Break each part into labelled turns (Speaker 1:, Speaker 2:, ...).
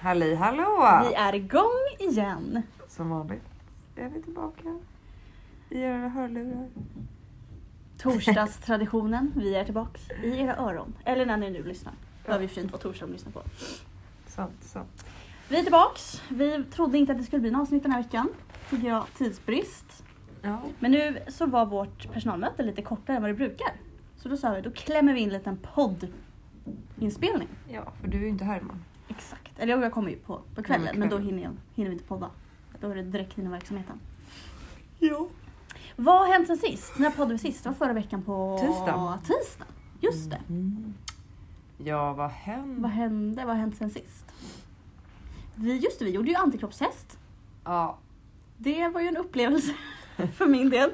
Speaker 1: Halli hallå!
Speaker 2: Vi är igång igen.
Speaker 1: Som vanligt är vi tillbaka i era hörlurar.
Speaker 2: Torsdagstraditionen, vi är tillbaks i era öron. Eller när ni nu lyssnar. Hör vi fint vad torsdag de lyssnar på.
Speaker 1: Sant, sant.
Speaker 2: Vi är tillbaks. Vi trodde inte att det skulle bli några avsnitt den här veckan. Tycker jag, tidsbrist.
Speaker 1: Ja.
Speaker 2: Men nu så var vårt personalmöte lite kortare än vad det brukar. Så då sa vi, då klämmer vi in en liten poddinspelning.
Speaker 1: ja, för du är ju inte här imorgon.
Speaker 2: Exakt. Eller jag kommer ju på, på kvällen,
Speaker 1: Mm,
Speaker 2: men då
Speaker 1: kvällen.
Speaker 2: hinner, jag, hinner vi inte podda. Då är det direkt inom verksamheten.
Speaker 1: Ja.
Speaker 2: Vad har hänt sen sist? När poddade vi sist? Det var förra veckan på
Speaker 1: Tisdag.
Speaker 2: tisdag. Just det.
Speaker 3: Mm.
Speaker 1: Mm. Ja, vad händer?
Speaker 2: Vad hände? Vad har hänt sen sist? Vi, just det, vi gjorde ju antikroppstest.
Speaker 1: Ja,
Speaker 2: Det var ju en upplevelse för min del.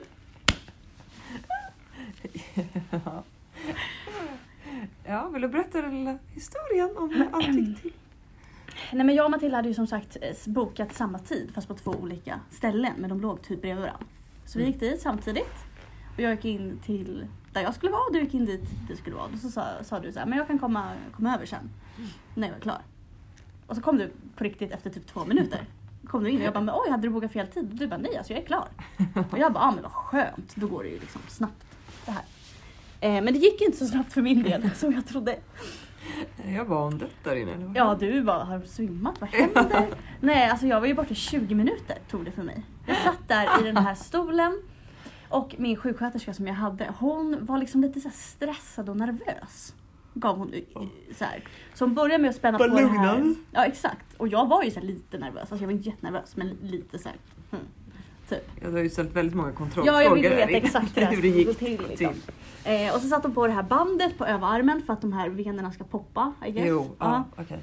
Speaker 1: ja, vill du berätta den lilla historien om antiktil?
Speaker 2: Nej men jag och Matilda hade ju som sagt eh, bokat samma tid fast på två olika ställen men de låg typ bredvid varandra. Så vi gick dit samtidigt och jag gick in till där jag skulle vara och du gick in dit du skulle vara. Och så sa, sa du så här, men jag kan komma, komma över sen när jag är klar. Och så kom du på riktigt efter typ två minuter. Kom du in och jag bara, men oj hade du bokat fel tid? Och du bara, nej alltså jag är klar. Och jag bara, ah, men vad skönt, då går det ju liksom snabbt det här. Eh, men det gick inte så snabbt för min del som jag trodde.
Speaker 1: Jag var on det där inne. eller vad?
Speaker 2: Ja, du bara har du svimmat, vad händer? Nej, alltså jag var ju borta 20 minuter tog det för mig. Jag satt där i den här stolen och min sjuksköterska som jag hade, hon var liksom lite så här stressad och nervös. Gav hon i- i- så här. Så hon började med att spänna
Speaker 1: Var
Speaker 2: på det här.
Speaker 1: lugnad.
Speaker 2: Ja, exakt. Och jag var ju så här lite nervös, alltså jag var inte jättenervös men lite så här. hmm, Typ.
Speaker 1: Ja, du har ju ställt väldigt många
Speaker 2: Ja,
Speaker 1: kontrollfrågor
Speaker 2: jag ville
Speaker 1: där
Speaker 2: veta
Speaker 1: inne.
Speaker 2: exakt hur det här
Speaker 1: hur det
Speaker 2: skulle gå
Speaker 1: gick
Speaker 2: till.
Speaker 1: till.
Speaker 2: Liksom.
Speaker 3: typ.
Speaker 2: Eh, och så satte hon på det här bandet på överarmen för att de här venerna ska poppa. I guess.
Speaker 1: Jo,
Speaker 2: Ja.
Speaker 1: ja, okej.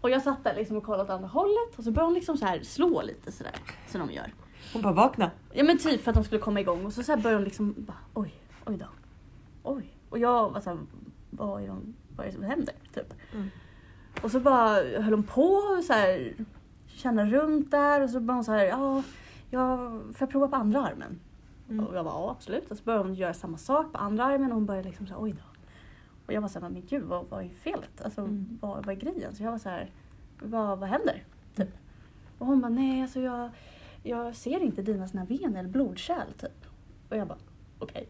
Speaker 2: Och jag satt där liksom och kollade åt andra hållet och så började hon liksom så här slå lite sådär som de gör.
Speaker 1: Hon bara vakna.
Speaker 2: Ja men typ för att de skulle komma igång och så, så här började hon liksom bara oj, oj då. Oj. Och jag var såhär, vad är, de, vad är det som händer? Typ.
Speaker 1: Mm.
Speaker 2: Och så bara höll hon på och så här känna runt där och så bara hon så här, ja, ja, får jag prova på andra armen?
Speaker 1: Mm.
Speaker 2: Och jag bara ja absolut. Och så började hon göra samma sak på andra armen och hon började liksom såhär oj då. Och jag var såhär, men gud vad, vad är felet? Alltså
Speaker 1: Mm.
Speaker 2: vad, vad är grejen? Så jag var såhär, vad, vad händer? Typ. Och hon bara nej alltså jag, jag ser inte dina såna vener eller blodkärl typ. Och jag bara okej.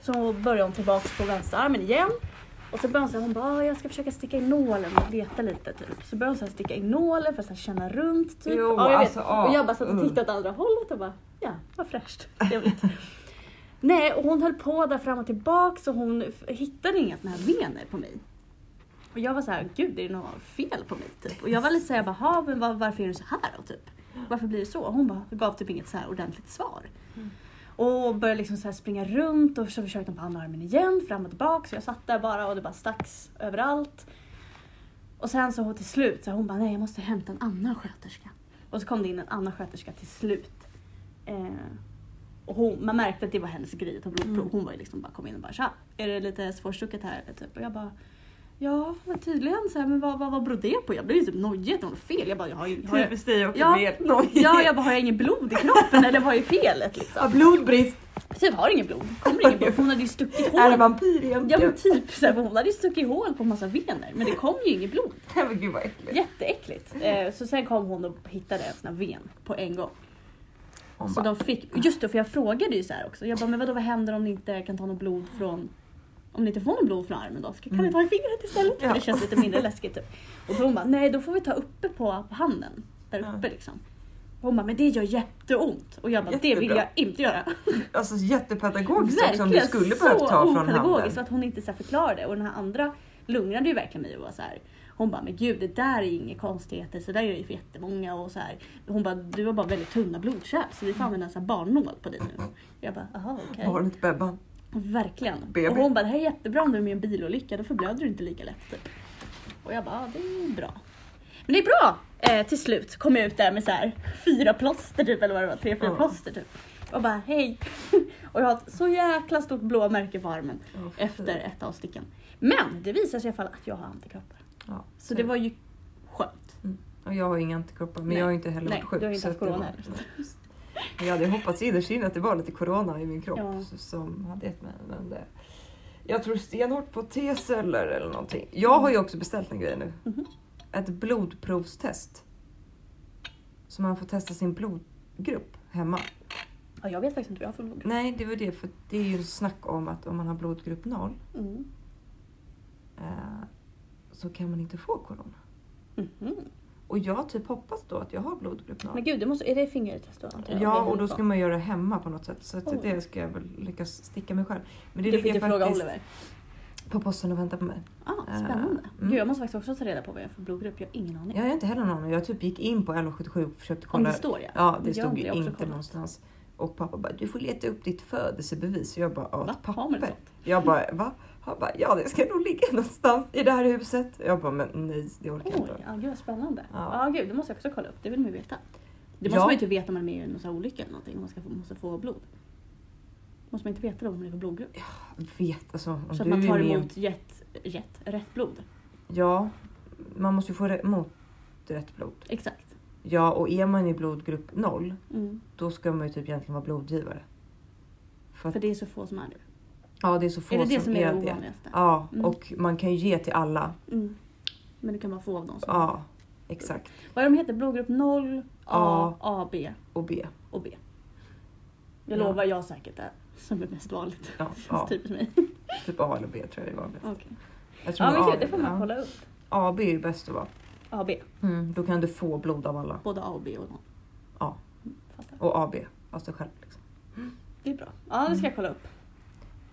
Speaker 2: Så började hon tillbaks på vänsterarmen igen. Och så började hon säga, hon bara, "Ah, jag ska försöka sticka in nålen och leta lite typ. Så började hon så här sticka in nålen för att så här känna runt typ.
Speaker 1: Jo,
Speaker 2: jag vet.
Speaker 1: alltså, ja.
Speaker 2: och jag bara satt och
Speaker 1: Mm.
Speaker 2: tittade åt andra hållet och bara, ja vad fräscht. Trevligt. Nej, och hon höll på där fram och tillbaks och hon f- hittade inga såna här vener på mig. Och jag var så här, gud är det något fel på mig? Typ. Och jag var lite såhär, jaha men var, varför är du så här då? Typ? Varför blir det så? Och hon bara, gav typ inget så här ordentligt svar. Och började liksom så här springa runt och så försökte hon på andra armen igen, fram och tillbaka. Så jag satt där bara och det bara stacks överallt. Och sen så till slut, så hon bara, nej jag måste hämta en annan sköterska. Och så kom det in en annan sköterska till slut. Eh, och hon, man märkte att det var hennes grej att ta blodprov.
Speaker 1: Mm.
Speaker 2: Hon var ju liksom bara kom in och bara tja, är det lite svårstucket här eller typ? Och jag bara ja men tydligen så här, men vad, vad, vad beror det på? Jag blev ju typ nojig att det var något fel. Jag bara jag har ju... Har jag,
Speaker 1: Typiskt dig också,
Speaker 2: ja,
Speaker 1: med
Speaker 2: ja, jag bara har jag inget blod i kroppen eller vad är felet liksom?
Speaker 1: Ja, blodbrist!
Speaker 2: Typ har inget blod. Kommer inget blod för hon hade ju stuckit
Speaker 1: Är det
Speaker 2: hål.
Speaker 1: vampyr igen?
Speaker 2: Ja men typ så här, för hon hade ju stuckit hål på massa vener men det kom ju inget blod.
Speaker 1: Nej, men gud vad äckligt.
Speaker 2: Jätteäckligt. Eh, så sen kom hon och hittade en sån här ven på en gång.
Speaker 1: Hon
Speaker 2: Så
Speaker 1: bara,
Speaker 2: de fick, just det, för jag frågade ju så här också. Jag bara, men vadå, vad händer om ni inte kan ta något blod från om ni inte får något blod från armen då, ska, kan ni ta i fingret istället?
Speaker 1: Mm. Ja.
Speaker 2: Det känns lite mindre läskigt typ. Och då hon bara, nej då får vi ta uppe på, på handen. Där
Speaker 1: Ja.
Speaker 2: uppe liksom. Och hon bara, men det gör jätteont. Och jag bara, det vill
Speaker 1: Jättebra.
Speaker 2: jag inte göra.
Speaker 1: Alltså jättepedagogiskt också om du skulle behövt ta
Speaker 2: så
Speaker 1: från handen.
Speaker 2: opedagogiskt att hon inte så här förklarade. Och den här andra lugnade ju verkligen mig och var så här. Hon bara, men gud det där är inga konstigheter, så där gör ju för jättemånga och så här. Hon bara, du har bara väldigt tunna blodkärl så vi får använda en sån här barnnål på dig nu. Jag bara, aha okej.
Speaker 1: Barnet Bebban.
Speaker 2: Verkligen.
Speaker 1: Baby.
Speaker 2: Och hon bara, det här är jättebra om du är med i en bilolycka, då förblöder du inte lika lätt. Typ. Och jag bara, ja, det är bra. Men det är bra! Eh, till slut kom jag ut där med så här fyra plåster typ, eller vad det var, tre, fyra
Speaker 1: Ja.
Speaker 2: plåster typ. Och bara, hej! och jag har ett så jäkla stort blå märke på armen
Speaker 1: Åh, fy.
Speaker 2: efter
Speaker 3: Mm.
Speaker 2: ett av sticken. Men det visar sig i alla fall att jag har antikroppar.
Speaker 1: Ja.
Speaker 2: Så det var ju skönt.
Speaker 1: Mm. Och jag har inga antikroppar men
Speaker 2: Nej.
Speaker 1: jag har inte heller
Speaker 2: Nej,
Speaker 1: varit sjuk.
Speaker 2: du har inte
Speaker 1: så
Speaker 2: haft
Speaker 1: att det
Speaker 2: corona
Speaker 1: var- Men Jag hade hoppats innerst inne att det var lite corona i min kropp
Speaker 2: Ja.
Speaker 1: som hade gett mig. Men det... Jag tror stenhårt på T-celler eller någonting. Jag har ju också beställt en grej nu.
Speaker 2: Mhm.
Speaker 3: ett blodprovstest. Så man får testa sin blodgrupp hemma.
Speaker 2: Ja, jag vet faktiskt inte vad jag har för blodgrupp.
Speaker 3: Nej, det var det. För det är ju snack om att om man har blodgrupp 0
Speaker 2: Mm.
Speaker 3: eh, så kan man inte få corona.
Speaker 2: Mhm.
Speaker 3: Och jag typ hoppas då att jag har blodgrupp 0.
Speaker 2: Men gud, det måste, är det fingertest då? antar jag?
Speaker 3: Ja,
Speaker 2: Det är
Speaker 3: och då
Speaker 2: hon
Speaker 3: ska
Speaker 2: på.
Speaker 3: man göra det hemma på något sätt. Så att
Speaker 2: Oj.
Speaker 3: det ska jag väl lyckas sticka mig själv. Men det
Speaker 2: Du fick ju
Speaker 3: ligger
Speaker 2: fråga
Speaker 3: faktiskt
Speaker 2: Oliver.
Speaker 3: på posten och väntar på mig.
Speaker 2: Ah, spännande.
Speaker 3: Eh, mm.
Speaker 2: Gud, jag måste faktiskt också ta reda på vad jag är för blodgrupp. Jag har ingen aning.
Speaker 3: Jag har inte heller någon aning. Jag typ gick in på LO77 och försökte
Speaker 2: Om
Speaker 3: kolla.
Speaker 2: det står ja.
Speaker 3: Ja, det
Speaker 2: Jag
Speaker 3: stod
Speaker 2: har
Speaker 3: ju
Speaker 2: också
Speaker 3: inte
Speaker 2: kollat.
Speaker 3: någonstans. Och pappa bara, du får leta upp ditt födelsebevis. Och jag bara, ja,
Speaker 2: Va?
Speaker 3: ett
Speaker 2: Har man ett
Speaker 3: papper.
Speaker 2: sånt?
Speaker 3: Jag bara, va? Han bara, ja det ska nog ligga någonstans i det här huset. Jag bara, men nej det orkar jag
Speaker 2: Oj,
Speaker 3: inte.
Speaker 2: ja, gud vad spännande. Ja.
Speaker 3: Ja.
Speaker 2: gud, det måste jag också kolla upp. Det vill man ju veta. Det måste
Speaker 3: Ja.
Speaker 2: man ju inte veta om man är med i någon sån här olycka eller någonting. Om man ska få, måste få blod. Måste man inte veta då om man är för blodgrupp?
Speaker 3: Vet alltså, om
Speaker 2: Så att
Speaker 3: du
Speaker 2: man tar
Speaker 3: är med om-
Speaker 2: emot rätt, rätt, rätt blod.
Speaker 3: Ja, man måste ju få re- emot rätt blod.
Speaker 2: Exakt.
Speaker 3: Ja, och är man i blodgrupp 0
Speaker 2: Mm.
Speaker 3: då ska man ju typ egentligen vara blodgivare. För att,
Speaker 2: För det är så få som är det.
Speaker 3: ja, det är så få
Speaker 2: Är det det
Speaker 3: som
Speaker 2: som är det
Speaker 3: det.
Speaker 2: ovanligaste?
Speaker 3: Ja,
Speaker 2: Mm.
Speaker 3: och man kan ju ge till alla.
Speaker 2: Mm. Men det kan man få av dem som...
Speaker 3: Ja, exakt.
Speaker 2: Vad är de heter? Blodgrupp 0, A,
Speaker 3: A.
Speaker 2: AB
Speaker 3: Och B.
Speaker 2: och B. Jag
Speaker 3: Ja.
Speaker 2: lovar, jag har säkert det som är mest vanligt.
Speaker 3: Ja,
Speaker 2: Ja.
Speaker 3: ja,
Speaker 2: Typ mig.
Speaker 3: typ A eller B tror jag det är vanligt.
Speaker 2: Okej.
Speaker 3: Jag tror
Speaker 2: Ja men
Speaker 3: A-
Speaker 2: gud, det får man
Speaker 3: ja.
Speaker 2: kolla upp.
Speaker 3: AB är ju bäst att vara.
Speaker 2: AB.
Speaker 3: Mm, då kan du få blod av alla.
Speaker 2: Både A och B och någon.
Speaker 3: Ja.
Speaker 2: Mm, fattar.
Speaker 3: Och AB, alltså själv. Liksom.
Speaker 2: Det är bra. Ja, det ska jag kolla upp.
Speaker 3: Ja,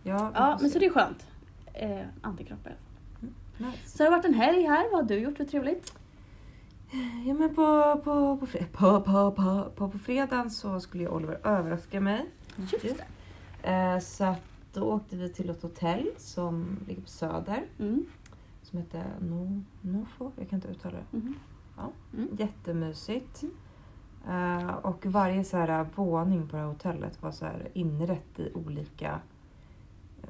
Speaker 3: vi
Speaker 2: Ja,
Speaker 3: får
Speaker 2: men
Speaker 3: se.
Speaker 2: så det är skönt. Eh, antikroppar i alla fall.
Speaker 3: Nice.
Speaker 2: Så har det varit en helg här. Vad har du gjort för trevligt?
Speaker 3: Ja men på, på, på, fre- på, på, på, på, på fredagen så skulle ju Oliver överraska mig.
Speaker 2: Just det.
Speaker 3: Eh, så att då åkte vi till ett hotell som ligger på Söder.
Speaker 2: Mm.
Speaker 3: Som heter no, Nofo, jag kan inte uttala det.
Speaker 2: Mhm.
Speaker 3: Jättemysigt. Eh, och varje så här, eh, våning på det här hotellet var så här inrätt i olika eh,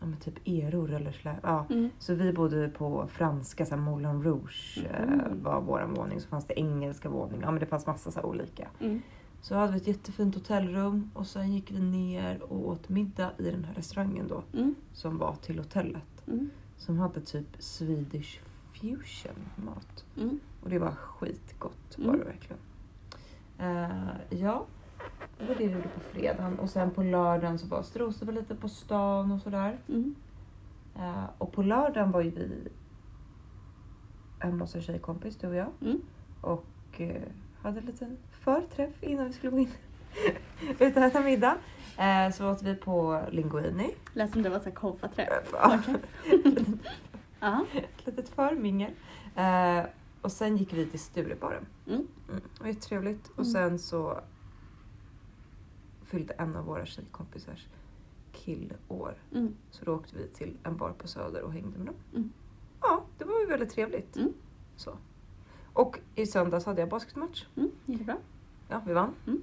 Speaker 3: ja, men typ eror eller slä, ja.
Speaker 2: Mm.
Speaker 3: Så vi bodde på franska, så här Moulin Rouge eh,
Speaker 2: Mhm.
Speaker 3: var vår våning. Så fanns det engelska våningar. Ja men det fanns massa så här olika.
Speaker 2: Mm.
Speaker 3: Så hade vi ett jättefint hotellrum och sen gick vi ner och åt middag i den här restaurangen då.
Speaker 2: Mm.
Speaker 3: Som var till hotellet.
Speaker 2: Mm.
Speaker 3: Som hade typ Swedish fusion mat.
Speaker 2: Mm.
Speaker 3: Och det var skitgott
Speaker 2: Mm.
Speaker 3: var det verkligen. Eh, ja, det var det vi gjorde på fredagen. Och sen på lördagen så bara strosade vi lite på stan och sådär.
Speaker 2: Mm.
Speaker 3: Eh, och på lördagen var ju vi hemma hos en tjejkompis, du och jag.
Speaker 2: Mm.
Speaker 3: Och eh, hade en liten förträff innan vi skulle gå in ut och äta middag. Eh, så åt vi på Linguini.
Speaker 2: Lät som det var så här konfaträff.
Speaker 3: Ja,
Speaker 2: Ja.
Speaker 3: Ett litet förmingel. Eh, och sen gick vi till Stureparen.
Speaker 2: Mm.
Speaker 3: Det var jättetrevligt. Och
Speaker 2: Mm.
Speaker 3: sen så fyllde en av våra tjejkompisars killår.
Speaker 2: Mm.
Speaker 3: Så då åkte vi till en bar på Söder och hängde med dem.
Speaker 2: Mm.
Speaker 3: Ja, det var ju väldigt trevligt.
Speaker 2: Mm.
Speaker 3: Så. Och i söndags hade jag basketmatch.
Speaker 2: Mm. Gick det bra?
Speaker 3: Ja, vi vann.
Speaker 2: Mm.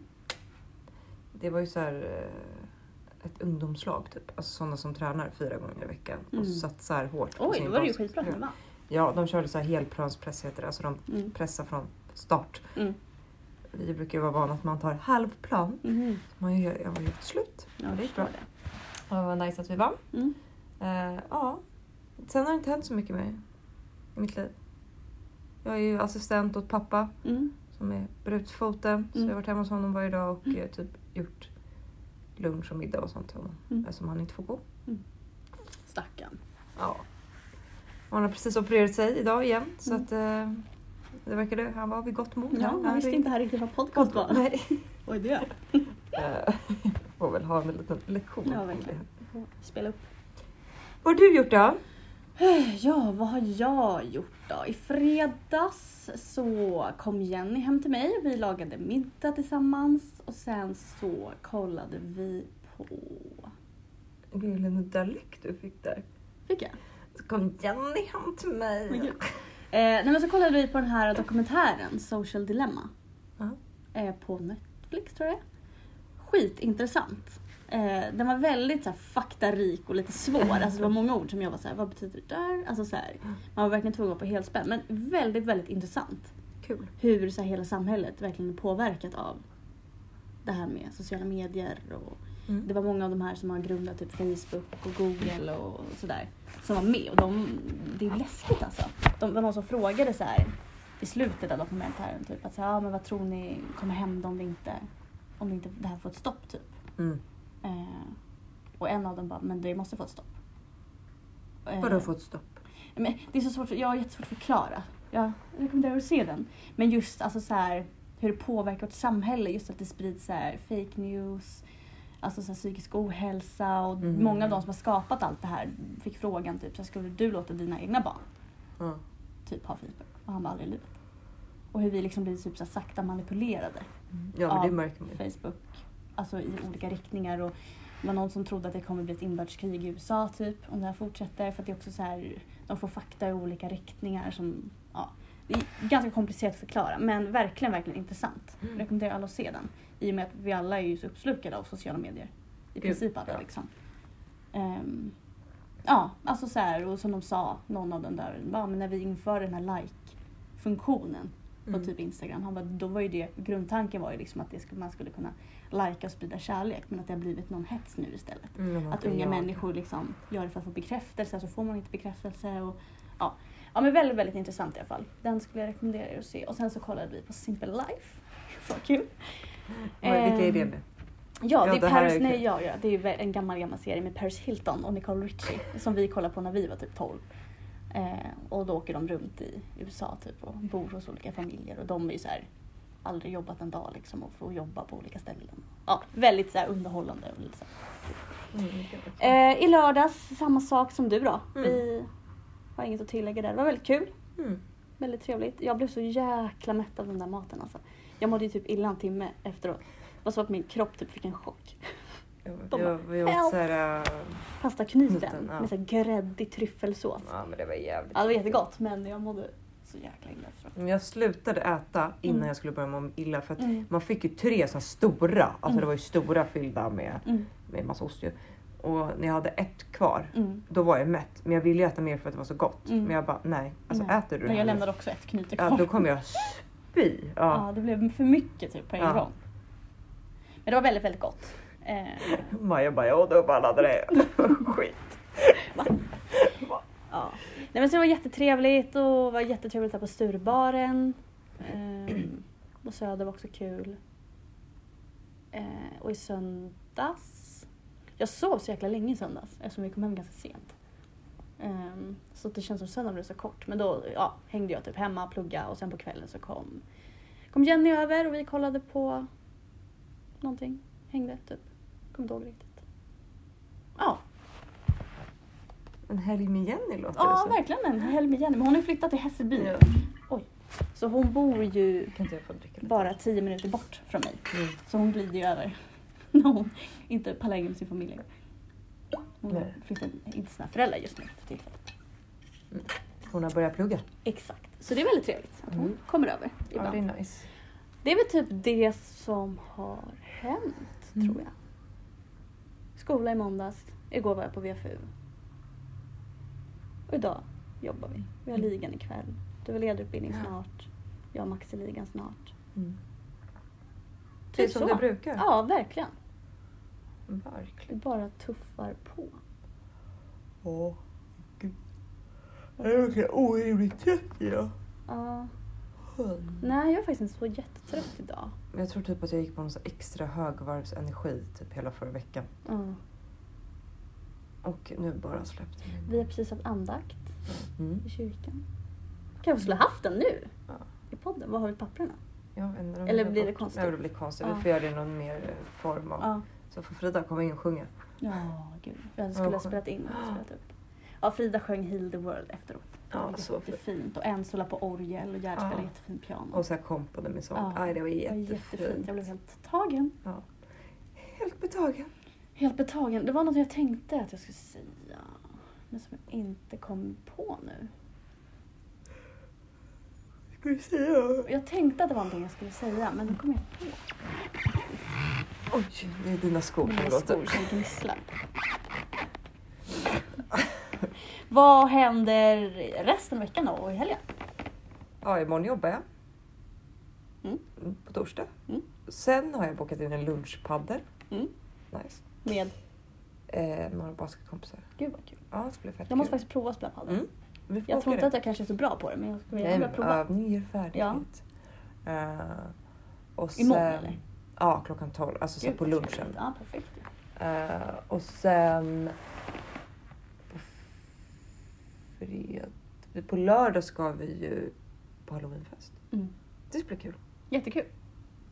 Speaker 3: Det var ju så här eh, ett ungdomslag typ. Alltså sådana som tränar fyra gånger i veckan
Speaker 2: Mm.
Speaker 3: och satsar hårt. på
Speaker 2: Oj,
Speaker 3: sin
Speaker 2: då var det ju
Speaker 3: basket.
Speaker 2: skitbra att ni vann.
Speaker 3: Ja, de körde så här helplanspress heter det. Alltså de
Speaker 2: Mm.
Speaker 3: pressar från start.
Speaker 2: Mm.
Speaker 3: Vi brukar ju vara vana att man tar halvplan.
Speaker 2: Mm.
Speaker 3: Man gör, jag var ju slut.
Speaker 2: Ja,
Speaker 3: det
Speaker 2: det
Speaker 3: gick bra.
Speaker 2: är det.
Speaker 3: Och det var nice att vi vann.
Speaker 2: Mm.
Speaker 3: Eh, ja. Sen har det inte hänt så mycket med i mitt liv. Jag är ju assistent åt pappa
Speaker 2: Mm.
Speaker 3: som är brutfoten. Så jag
Speaker 2: Mm.
Speaker 3: har varit hemma hos honom varje dag och
Speaker 2: Mm.
Speaker 3: eh, typ gjort lunch och middag och sånt till honom.
Speaker 2: Mm.
Speaker 3: Eftersom han inte får gå.
Speaker 2: Stackarn.
Speaker 3: Ja. Och han har precis opererat sig idag igen. Så
Speaker 2: Mm.
Speaker 3: att eh, det verkade, han var vid gott mod.
Speaker 2: Ja, man visste
Speaker 3: ringde.
Speaker 2: inte här riktigt vad podcast var.
Speaker 3: Nej.
Speaker 2: Oj, det är.
Speaker 3: Eh, får väl ha en liten lektion
Speaker 2: Ja,
Speaker 3: om det.
Speaker 2: verkligen. Vi får Spela upp.
Speaker 3: Vad har du gjort då?
Speaker 2: Ja, vad har jag gjort då? I fredags så kom Jenny hem till mig. Vi lagade middag tillsammans och sen så kollade vi på...
Speaker 3: Gud, vilken dialekt du fick där.
Speaker 2: Fick jag?
Speaker 3: Så kom Jenny hem till mig.
Speaker 2: Men gud. Eh, nej men så kollade vi på den här dokumentären Social Dilemma.
Speaker 3: Ja.
Speaker 2: Eh, på Netflix tror jag det är. Skitintressant. Eh, den var väldigt så här, faktarik och lite svår. Alltså, det var många ord som jag var så här, vad betyder det där? Alltså, så här, man var verkligen tvungen att vara på helspänn. Men väldigt, väldigt intressant.
Speaker 3: Kul.
Speaker 2: hur så här, hela samhället verkligen är påverkat av det här med sociala medier. Och
Speaker 3: Mm.
Speaker 2: det var många av de här som har grundat typ Facebook och Google och sådär som var med. Och de, det är läskigt alltså. De, det var någon som frågade så här, i slutet av dokumentären typ att säga, ja men vad tror ni kommer hända om det inte, om det inte det här får ett stopp typ.
Speaker 3: Mm.
Speaker 2: Eh, och en av dem bara, men det måste få ett stopp. Eh,
Speaker 3: Vadå fått stopp?
Speaker 2: Men det är så svårt, för- jag har jättesvårt att förklara. Jag rekommenderar att se den. Men just alltså så här, hur det påverkar vårt samhälle, just att det sprids så här, fake news, alltså så här, psykisk ohälsa och
Speaker 3: Mm.
Speaker 2: många av de som har skapat allt det här fick frågan typ, så här, skulle du låta dina egna barn
Speaker 3: Ja.
Speaker 2: typ ha Facebook? Och han bara, aldrig i livet. Och hur vi liksom blir typ så här, sakta manipulerade.
Speaker 3: Ja men
Speaker 2: Ja,
Speaker 3: det märker man ju.
Speaker 2: Facebook, alltså i olika riktningar och det var någon som trodde att det kommer bli ett inbördeskrig i USA typ om det här fortsätter för att det är också så här, de får fakta i olika riktningar som, ja. Det är ganska komplicerat att förklara men verkligen, verkligen intressant.
Speaker 3: Mm.
Speaker 2: Rekommenderar alla att se den. I och med att vi alla är ju så uppslukade av sociala medier. I
Speaker 3: Gud,
Speaker 2: princip alla
Speaker 3: ja.
Speaker 2: liksom. Ehm, ja, alltså så här och som de sa, någon av den där, ja, men när vi införde den här like-funktionen på
Speaker 3: Mm.
Speaker 2: typ Instagram. Han bara, då var ju det, grundtanken var ju liksom att det skulle, man skulle kunna lajka och sprida kärlek men att det har blivit någon hets nu istället.
Speaker 3: Mm, men
Speaker 2: Att
Speaker 3: man
Speaker 2: unga
Speaker 3: kan jaga.
Speaker 2: människor liksom gör det för att få bekräftelse, så får man inte bekräftelse. Och, ja. ja men väldigt, väldigt intressant i alla fall. Den skulle jag rekommendera er att se. Och sen så kollade vi på Simple Life. Så kul!
Speaker 3: Vad- Vilka är det
Speaker 2: Ehm,
Speaker 3: nu?
Speaker 2: Ja,
Speaker 3: Ja,
Speaker 2: det är
Speaker 3: det här
Speaker 2: Paris,
Speaker 3: är kul.
Speaker 2: nej ja, ja, det är väl en gammal, gammal serie med Paris Hilton och Nicole Richie som vi kollade på när vi var typ 12. Eh, och då åker de runt i USA typ och bor hos olika familjer och de är ju så här aldrig jobbat en dag liksom och får jobba på olika ställen. Ja, väldigt så här underhållande. Och lite så
Speaker 3: Mm.
Speaker 2: här. Eh, I lördags, samma sak som du då.
Speaker 3: Mm.
Speaker 2: Vi har inget att tillägga där. Det var väldigt kul,
Speaker 3: Mm.
Speaker 2: väldigt trevligt. Jag blev så jäkla mätt av den där maten alltså. Jag mådde ju typ illa en timme efteråt. Det var så att min kropp typ fick en chock.
Speaker 3: Jag,
Speaker 2: De
Speaker 3: jag, jag åt
Speaker 2: help.
Speaker 3: såhär... äh,
Speaker 2: pastaknyten
Speaker 3: Knyten, ja.
Speaker 2: med så här gräddig tryffelsås. Alltså, Ja.
Speaker 3: Ja men det var jävligt
Speaker 2: det var jättegott men jag mådde så jäkla illa efteråt.
Speaker 3: Men Jag slutade äta innan
Speaker 2: Mm.
Speaker 3: jag skulle börja må illa för att
Speaker 2: Mm.
Speaker 3: man fick ju tre så här stora, alltså
Speaker 2: Mm.
Speaker 3: det var ju stora fyllda med,
Speaker 2: Mm.
Speaker 3: med massa ost ju. Och när jag hade ett kvar
Speaker 2: Mm.
Speaker 3: då var jag mätt men jag ville ju äta mer för att det var så gott.
Speaker 2: Mm.
Speaker 3: Men jag bara nej, alltså
Speaker 2: Nej.
Speaker 3: äter du det
Speaker 2: Mm. Men
Speaker 3: här
Speaker 2: jag
Speaker 3: nu?
Speaker 2: lämnade också ett knyte kvar.
Speaker 3: Ja, då kommer jag spy.
Speaker 2: ja.
Speaker 3: Ja.
Speaker 2: det blev för mycket typ på en
Speaker 3: Ja.
Speaker 2: gång. Men det var väldigt, väldigt gott. Eh,
Speaker 3: Maja bara jag åt upp alla det Skit.
Speaker 2: ja. Nej, men så det var jättetrevligt och var jättetrevligt här på Sturbaren. Eh, och Söder var också kul. Eh, och i söndags... Jag sov så jäkla länge i söndags eftersom vi kom hem ganska sent. Eh, så det känns som söndagen blev så kort. Men då ja, hängde jag typ hemma, plugga och sen på kvällen så kom, kom Jenny över och vi kollade på någonting. Hängde typ. Kommer inte ihåg riktigt. Ja,
Speaker 3: En helg med Jenny låter det
Speaker 2: ja
Speaker 3: som.
Speaker 2: verkligen en helg med Jenny. Men hon har ju flyttat till Hässelby.
Speaker 3: Ja.
Speaker 2: Så hon bor ju
Speaker 3: Kan inte jag få dricka lite?
Speaker 2: bara tio minuter bort från mig.
Speaker 3: Mm.
Speaker 2: Så hon glider ju över när hon inte pallar in med sin familj. Hon
Speaker 3: Nej.
Speaker 2: flyttar inte till sina föräldrar just nu för tillfället.
Speaker 3: Hon har börjat plugga.
Speaker 2: Exakt. Så det är väldigt trevligt att hon
Speaker 3: Mm.
Speaker 2: kommer över
Speaker 3: Ja
Speaker 2: ibland.
Speaker 3: det är nice.
Speaker 2: det är väl typ det som har hänt
Speaker 3: Mm.
Speaker 2: tror jag. Skola i måndags, igår var jag på VFU. Och idag jobbar vi. Vi har ligan ikväll. Du har ledarutbildning
Speaker 3: Mm. Ja.
Speaker 2: snart. Jag har Maxi-ligan snart.
Speaker 3: Mm.
Speaker 2: Typ
Speaker 3: Det är som
Speaker 2: så.
Speaker 3: det brukar.
Speaker 2: Ja, verkligen. Vi
Speaker 3: Verkligen.
Speaker 2: bara tuffar på.
Speaker 3: Åh gud. Jag är orimligt trött idag.
Speaker 2: Ja. Nej, jag är faktiskt inte så jättetrött idag.
Speaker 3: Men Jag tror typ att jag gick på någon så här extra högvarvsenergi typ hela förra veckan. Och nu bara släppte det.
Speaker 2: Vi har precis haft andakt
Speaker 3: Mm.
Speaker 2: i kyrkan. Kanske skulle haft den nu?
Speaker 3: Ja.
Speaker 2: I podden? Vad har vi papperna?
Speaker 3: Jag vet inte, de
Speaker 2: Eller
Speaker 3: är
Speaker 2: blir
Speaker 3: bort.
Speaker 2: det konstigt?
Speaker 3: Nej, det blir konstigt.
Speaker 2: Ja.
Speaker 3: Vi får göra det i någon mer eh, form av...
Speaker 2: Ja.
Speaker 3: Så får Frida komma in och sjunga.
Speaker 2: Ja, gud. Jag skulle ha
Speaker 3: skönt.
Speaker 2: spelat in och spelat upp. Ja, Frida sjöng Heal the World efteråt.
Speaker 3: Ja,
Speaker 2: det var
Speaker 3: så fint.
Speaker 2: jättefint. Och Enzo la på orgel och Gerd spelade
Speaker 3: Ja.
Speaker 2: jättefin piano.
Speaker 3: Och så här kompade med sång. Aj, det var
Speaker 2: Det var
Speaker 3: jättefint.
Speaker 2: jättefint. Jag blev helt tagen.
Speaker 3: Ja. Helt betagen.
Speaker 2: Helt betagen. Det var något jag tänkte att jag skulle säga. Men som jag inte kom på nu.
Speaker 3: Ska vi säga?
Speaker 2: Jag tänkte att det var någonting jag skulle säga men nu kom jag inte på.
Speaker 3: Oj, det är dina skor som
Speaker 2: Mina
Speaker 3: låter.
Speaker 2: skor som gnisslar. Vad händer resten av veckan då och i helgen?
Speaker 3: Ja, imorgon jobbar jag.
Speaker 2: Mm.
Speaker 3: Mm, På torsdag.
Speaker 2: Mm.
Speaker 3: Sen har jag bokat in en lunchpaddel.
Speaker 2: Mm.
Speaker 3: Nice.
Speaker 2: Med...
Speaker 3: Eh, några basketkompisar.
Speaker 2: Gud vad kul.
Speaker 3: Ja, det ska bli fett
Speaker 2: Jag måste
Speaker 3: kul.
Speaker 2: faktiskt prova att spela padel.
Speaker 3: Mm. Vi får
Speaker 2: Jag
Speaker 3: åka Eh,
Speaker 2: tror inte
Speaker 3: det.
Speaker 2: att jag kanske är så bra på det men jag skulle
Speaker 3: Nej,
Speaker 2: gärna
Speaker 3: men
Speaker 2: prova.
Speaker 3: övning ger färdighet. Eh, och sen,
Speaker 2: Imorgon eller?
Speaker 3: Ja, klockan 12. Alltså så
Speaker 2: Gud,
Speaker 3: eh, på
Speaker 2: vad trevligt.
Speaker 3: lunchen.
Speaker 2: Ja, perfekt.
Speaker 3: Eh, och sen på, fred... på lördag ska vi ju på halloweenfest.
Speaker 2: Mm.
Speaker 3: Det ska bli kul.
Speaker 2: Jättekul.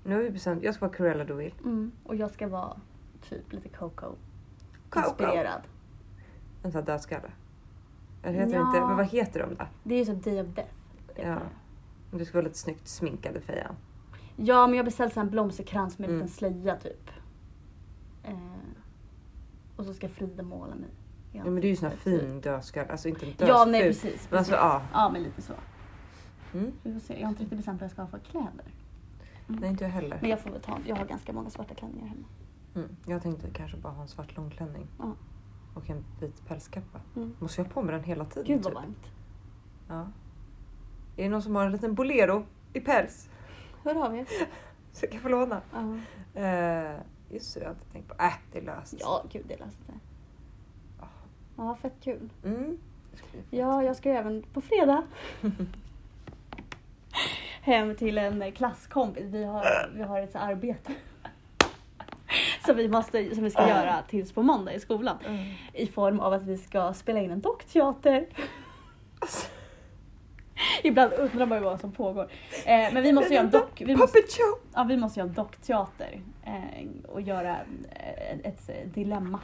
Speaker 3: Nu har vi bestämt. Jag ska vara Cruella Deville.
Speaker 2: Mm. Och jag ska vara typ lite Coco.
Speaker 3: Coco.
Speaker 2: Inspirerad.
Speaker 3: En sån här dödskalle. Eller heter
Speaker 2: Ja.
Speaker 3: det inte? Men vad heter de då?
Speaker 2: Det är ju som Day of Death. heter
Speaker 3: Ja.
Speaker 2: det.
Speaker 3: Du ska vara lite snyggt sminkade Fejan.
Speaker 2: ja men jag beställde så här en blomsterkrans med en
Speaker 3: Mm.
Speaker 2: liten slöja typ. Eh. Och så ska Frida måla mig. i
Speaker 3: Ja, men det är ju sån här
Speaker 2: ansiktet, typ.
Speaker 3: fin dödskalle. Alltså inte en dödsful.
Speaker 2: Ja nej precis.
Speaker 3: Men
Speaker 2: precis.
Speaker 3: alltså, ja.
Speaker 2: Ja men lite så.
Speaker 3: Mm.
Speaker 2: Vi får se. Jag har inte riktigt bestämt vad jag ska ha för kläder. Mm.
Speaker 3: Nej, inte jag heller.
Speaker 2: Men jag får väl ta, jag har ganska många svarta klänningar hemma.
Speaker 3: Mm. Jag tänkte kanske bara ha en svart långklänning.
Speaker 2: Ja.
Speaker 3: Och en vit pälskappa.
Speaker 2: Mm.
Speaker 3: Måste jag ha på mig den hela tiden?
Speaker 2: Gud vad
Speaker 3: typ?
Speaker 2: varmt.
Speaker 3: Ja. Är det någon som har en liten bolero i päls?
Speaker 2: Hör av er.
Speaker 3: Så jag kan få låna.
Speaker 2: Ja.
Speaker 3: Eh, just det, jag har inte tänkt på. Äh, det är löst.
Speaker 2: Ja, gud det löser sig. Ja, fett kul.
Speaker 3: Mm.
Speaker 2: Ja, jag ska ju även på fredag hem till en klasskompis. Vi har, vi har ett så här arbete som vi, måste, som vi ska göra tills på måndag i skolan.
Speaker 3: Mm.
Speaker 2: I form av att vi ska spela in en dockteater.
Speaker 3: Alltså,
Speaker 2: Ibland undrar man ju vad som pågår. Eh, men vi måste göra en dock... Vi måste,
Speaker 3: Puppet show!
Speaker 2: ja, vi måste göra en dockteater eh, och göra eh, ett dilemma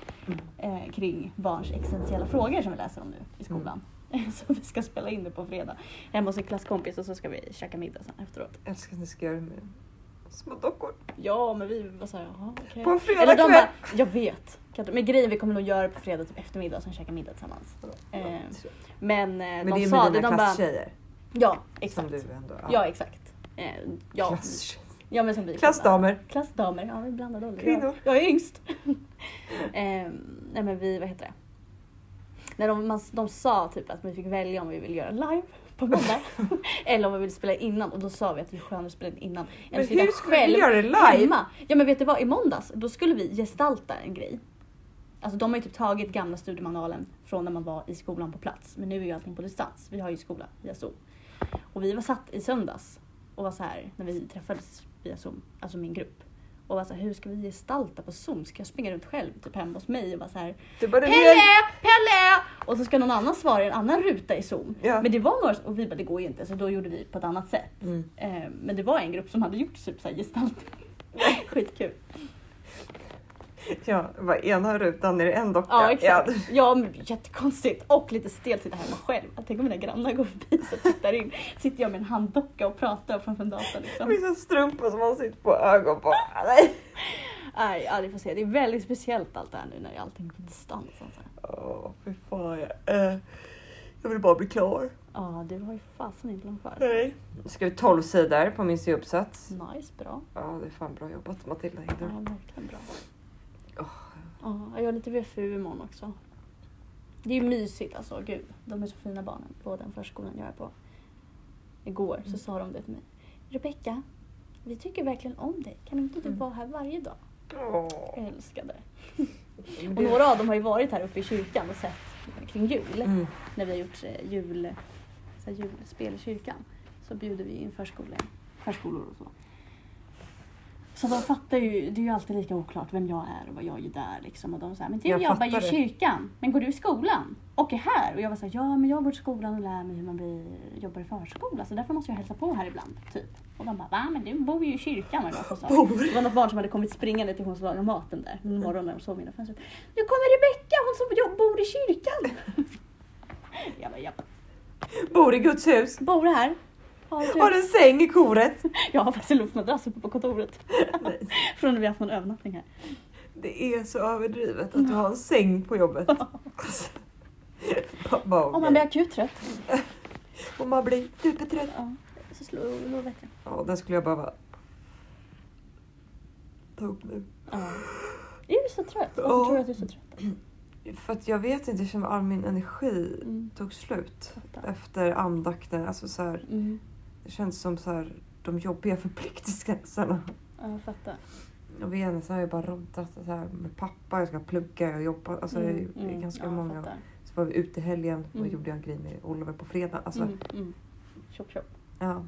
Speaker 2: eh, kring barns existentiella frågor som vi läser om nu
Speaker 3: Mm.
Speaker 2: i skolan. Så vi ska spela in det på fredag hemma hos en klasskompis och så ska vi käka middag sen efteråt.
Speaker 3: Jag älskar att ni ska göra det med små dockor.
Speaker 2: Ja, men vi var såhär, jaha okej.
Speaker 3: På en
Speaker 2: Eller de
Speaker 3: fredagkväll!
Speaker 2: bara, jag vet. Kan inte- Men grejen vi kommer nog göra det på fredag typ eftermiddag och sen käka middag tillsammans. Eh, Men, eh,
Speaker 3: Men
Speaker 2: de
Speaker 3: det är
Speaker 2: sa
Speaker 3: med
Speaker 2: det,
Speaker 3: dina
Speaker 2: de bara,
Speaker 3: klasstjejer.
Speaker 2: ja exakt.
Speaker 3: Som du ändå...
Speaker 2: Ja exakt. Eh, ja,
Speaker 3: Klasstjejer.
Speaker 2: ja, men som vi
Speaker 3: Klassdamer.
Speaker 2: Klassdamer, ja vi blandade ålder.
Speaker 3: Kvinnor.
Speaker 2: Jag, jag är yngst. Ehm, nej men vi, vad heter det? När de, man, de sa typ att vi fick välja om vi ville göra live på måndag eller om vi ville spela innan och då sa vi att det är skönare att spela in innan än
Speaker 3: Men
Speaker 2: att sitta
Speaker 3: hur skulle vi
Speaker 2: själv
Speaker 3: göra det live?
Speaker 2: hemma. Ja men vet du vad, i måndags då skulle vi gestalta en grej. Alltså de har ju typ tagit gamla studiemanualen från när man var i skolan på plats men nu är ju allting på distans. Vi har ju skola via Zoom. Och vi var satt i söndags och var så här när vi träffades via Zoom, alltså min grupp. Och var så här, hur ska vi gestalta på Zoom? Ska jag springa runt själv typ hemma hos mig och vara så här
Speaker 3: Du bara, det är
Speaker 2: Pelle!
Speaker 3: jag-
Speaker 2: Pelle! Och så ska någon annan svara i en annan ruta i Zoom.
Speaker 3: Ja.
Speaker 2: Men det var några, och vi bara det går ju inte så då gjorde vi på ett annat sätt.
Speaker 3: Mm.
Speaker 2: Eh, Men det var en grupp som hade gjort typ så här gestaltning. Skitkul.
Speaker 3: Ja, bara ena rutan är det en docka.
Speaker 2: Ja exakt.
Speaker 3: Ja,
Speaker 2: Ja, men jättekonstigt. Och lite stelt sitta hemma själv. Jag tänker om mina grannar går förbi så tittar in. Sitter jag med en handdocka och pratar framför en dator
Speaker 3: det
Speaker 2: liksom.
Speaker 3: finns en strumpa som man sitter på ögon på.
Speaker 2: Ah!
Speaker 3: Nej.
Speaker 2: Nej, ja, vi får se. Det är väldigt speciellt allt det här nu när allting är på distans. Alltså.
Speaker 3: Åh, fy fan. Jag, eh, jag vill bara bli klar.
Speaker 2: Ja, du har ju fasen inte långt kvar. alltså.
Speaker 3: Nej. Nu ska vi 12 sidor på min C-uppsats.
Speaker 2: Nice, bra.
Speaker 3: Ja, det är fan bra jobbat Matilda
Speaker 2: Ja,
Speaker 3: Hedlund.
Speaker 2: verkligen bra.
Speaker 3: Åh.
Speaker 2: Ja, jag har lite VFU imorgon också. Det är ju mysigt alltså, gud. De är så fina barnen på den förskolan jag är på. Igår så
Speaker 3: Mm.
Speaker 2: sa de det till mig. Rebecka, vi tycker verkligen om dig. Kan inte du
Speaker 3: Mm.
Speaker 2: vara här varje dag?
Speaker 3: Åh.
Speaker 2: Jag älskar det.
Speaker 3: Men
Speaker 2: Och
Speaker 3: det-
Speaker 2: några av dem har ju varit här uppe i kyrkan och sett kring jul.
Speaker 3: Mm.
Speaker 2: När vi har gjort eh, jul, så här julspel i kyrkan så bjuder vi in förskolor, förskolor och så. Så de fattar ju, det är ju alltid lika oklart vem jag är och vad jag gör där liksom. Och de säger, men du
Speaker 3: Jag
Speaker 2: jobbar
Speaker 3: fattar
Speaker 2: ju i
Speaker 3: det."
Speaker 2: kyrkan, men går du i skolan? Och är här? Och jag var såhär, ja men jag går till skolan och lär mig hur man blir, jobbar i förskola så därför måste jag hälsa på här ibland. Typ. Och de bara, va men du bor ju i kyrkan var det någon som sa. Det var något barn som hade kommit springande till hon som lagade maten där
Speaker 3: Mm.
Speaker 2: en morgon när de såg mina fönster. Nu kommer Rebecka, hon som jobb- bor i kyrkan! jag bara, japp.
Speaker 3: Bor i Guds hus.
Speaker 2: Bor här. Har ett
Speaker 3: Har
Speaker 2: hus.
Speaker 3: en säng i koret.
Speaker 2: Jag har faktiskt en luftmadrass uppe på kontoret.
Speaker 3: Nej,
Speaker 2: Från när vi haft någon övernattning här.
Speaker 3: det är så överdrivet att du har en säng på jobbet. Alltså, bara- bara,
Speaker 2: Om man blir akut trött.
Speaker 3: Om man blir supertrött.
Speaker 2: Ja. Så slår slå väckan.
Speaker 3: Ja, den skulle jag behöva ta upp nu.
Speaker 2: Ja. Är du så trött? Varför
Speaker 3: Ja.
Speaker 2: tror du att du är så trött?
Speaker 3: För att jag vet inte, jag känner all min energi
Speaker 2: Mm.
Speaker 3: tog slut
Speaker 2: Fattar.
Speaker 3: efter andakten. Alltså så här,
Speaker 2: Mm.
Speaker 3: det känns som så här, de jobbiga förpliktelserna.
Speaker 2: Ja, jag fattar.
Speaker 3: Och vi är så här, jag bara roddat så här, med pappa, jag ska plugga, jag jobbar. Alltså, det är
Speaker 2: Mm,
Speaker 3: ganska
Speaker 2: ja, jag
Speaker 3: många
Speaker 2: fattar.
Speaker 3: Så var vi ute i helgen och
Speaker 2: Mm.
Speaker 3: gjorde en grej med Oliver på fredag. Alltså,
Speaker 2: Mm, mm. Tjopp tjopp,
Speaker 3: ja.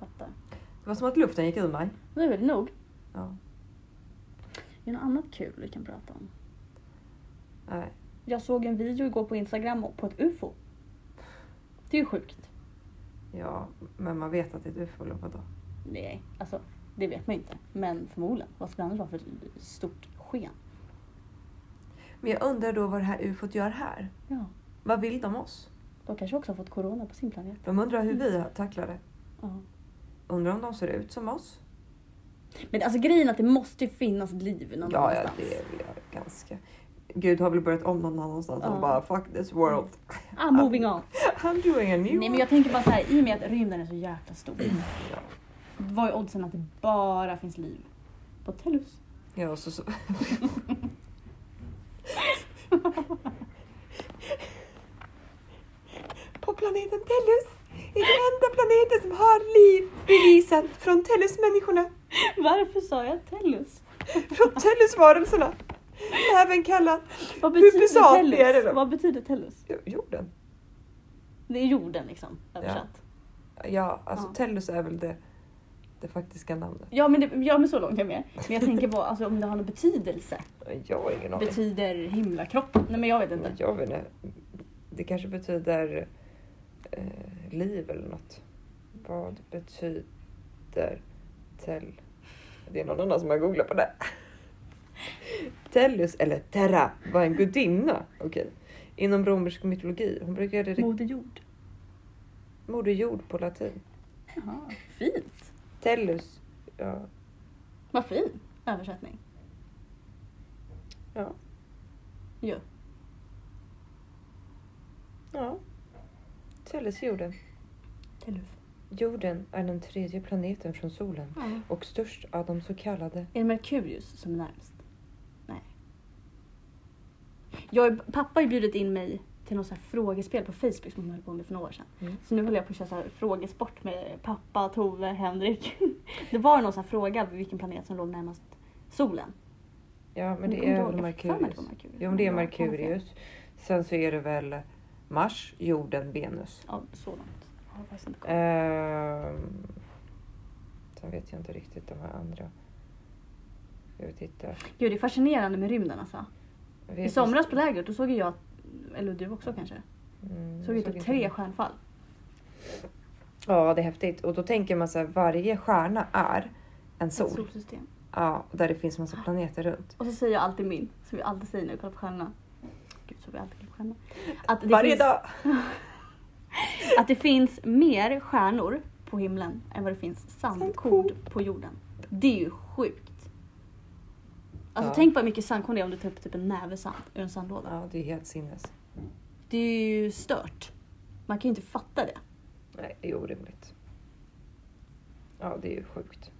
Speaker 2: fattar.
Speaker 3: Det var som att luften gick ur mig.
Speaker 2: Nu är det nog.
Speaker 3: Ja.
Speaker 2: Det är något annat kul vi kan prata om.
Speaker 3: Nej.
Speaker 2: Jag såg en video igår på Instagram på ett UFO. Det är ju sjukt.
Speaker 3: Ja, men man vet att det är ett ufo eller vadå?
Speaker 2: Nej, alltså det vet man ju inte. Men förmodligen. Vad skulle det annars vara för ett stort sken?
Speaker 3: Men jag undrar då vad det här ufot gör här?
Speaker 2: Ja.
Speaker 3: Vad vill de oss?
Speaker 2: De kanske också har fått corona på sin planet.
Speaker 3: De undrar hur vi tacklar det.
Speaker 2: Ja.
Speaker 3: Undrar om de ser ut som oss?
Speaker 2: Men alltså grejen är att det måste ju finnas liv någon
Speaker 3: Ja, ja,
Speaker 2: annanstans.
Speaker 3: det är väl jag ganska. Gud har väl börjat om någon annanstans och
Speaker 2: Ja.
Speaker 3: bara fuck this world.
Speaker 2: Ah, moving on.
Speaker 3: I'm doing a new
Speaker 2: Nej men jag tänker bara såhär, i och med att rymden är så jäkla stor.
Speaker 3: Ja.
Speaker 2: Vad är oddsen att det bara finns liv på Tellus?
Speaker 3: Ja, och så, så. På planeten Tellus är den enda planeten som har liv bevisat från Tellus-människorna,
Speaker 2: Varför sa jag Tellus?
Speaker 3: från Tellus-varelserna. Även kallat
Speaker 2: Vad
Speaker 3: Huppisat
Speaker 2: betyder
Speaker 3: är det då.
Speaker 2: Tellus? Vad betyder Tellus?
Speaker 3: Jo, jorden.
Speaker 2: Det är jorden liksom, översatt.
Speaker 3: Ja, alltså
Speaker 2: Ja.
Speaker 3: Tellus är väl det, det faktiska namnet.
Speaker 2: Ja, men, det, ja men så långt är jag med. Men jag tänker på alltså, om det har någon betydelse.
Speaker 3: Jag har ingen aning.
Speaker 2: Betyder himlakroppen? Nej men jag vet inte.
Speaker 3: Jag vet inte. Det kanske betyder eh, liv eller något. Vad betyder tell? Det är någon annan som har googlat på det. Tellus eller Terra var en gudinna. Okej. Inom romersk mytologi. Hon brukade rik-
Speaker 2: Moder jord.
Speaker 3: moder jord på latin.
Speaker 2: Jaha, fint.
Speaker 3: Tellus. Ja.
Speaker 2: Vad fin översättning.
Speaker 3: Ja.
Speaker 2: Jo.
Speaker 3: ja. Tellus jorden.
Speaker 2: Tellus.
Speaker 3: Jorden är den tredje planeten från solen
Speaker 2: Ja.
Speaker 3: och störst av de så kallade
Speaker 2: Är det Merkurius som är närmst? Nej. Jag, är- pappa har ju bjudit in mig till något så här frågespel på Facebook som han höll på med för några år sedan.
Speaker 3: Mm.
Speaker 2: Så nu håller jag på att köra så här frågesport med pappa, Tove, Henrik. Det var någon så här fråga vilken planet som låg närmast solen.
Speaker 3: Ja,
Speaker 2: Jag
Speaker 3: men det
Speaker 2: kommer
Speaker 3: är
Speaker 2: inte ihåg. Jag
Speaker 3: väl
Speaker 2: har för mig att
Speaker 3: Merkurius.
Speaker 2: det var Merkurius.
Speaker 3: Jo, men det är
Speaker 2: Ja,
Speaker 3: Merkurius. Sen så är det väl Mars, jorden, Venus.
Speaker 2: Ja, så långt. Jag har faktiskt inte koll.
Speaker 3: Eh. Ehm, sen vet jag inte riktigt de här andra. Ska vi titta?
Speaker 2: Gud, det är fascinerande med rymden alltså. I
Speaker 3: Venus-
Speaker 2: somras på lägret då såg ju jag, att- eller du också kanske,
Speaker 3: Mm,
Speaker 2: såg ju
Speaker 3: jag
Speaker 2: typ
Speaker 3: inte
Speaker 2: tre
Speaker 3: den.
Speaker 2: stjärnfall.
Speaker 3: Ja, det är häftigt. Och då tänker man så här, varje stjärna är en sol.
Speaker 2: Ett solsystem.
Speaker 3: Ja, och där det finns massa planeter runt.
Speaker 2: Och så säger jag alltid min, som vi alltid säger när vi kollar på stjärnorna. Gud, så vi alltid kollar på stjärnorna. Att det,
Speaker 3: Varje
Speaker 2: finns,
Speaker 3: dag!
Speaker 2: att det finns mer stjärnor på himlen än vad det finns sandkorn på jorden. Det är ju sjukt. Alltså
Speaker 3: Ja.
Speaker 2: tänk bara hur mycket sandkorn det är om du tar upp typ en näve sand ur en sandlåda.
Speaker 3: Ja, det är helt sinnes.
Speaker 2: Det är ju stört. Man kan ju inte fatta det.
Speaker 3: Nej, det är orimligt. Ja, det är ju sjukt.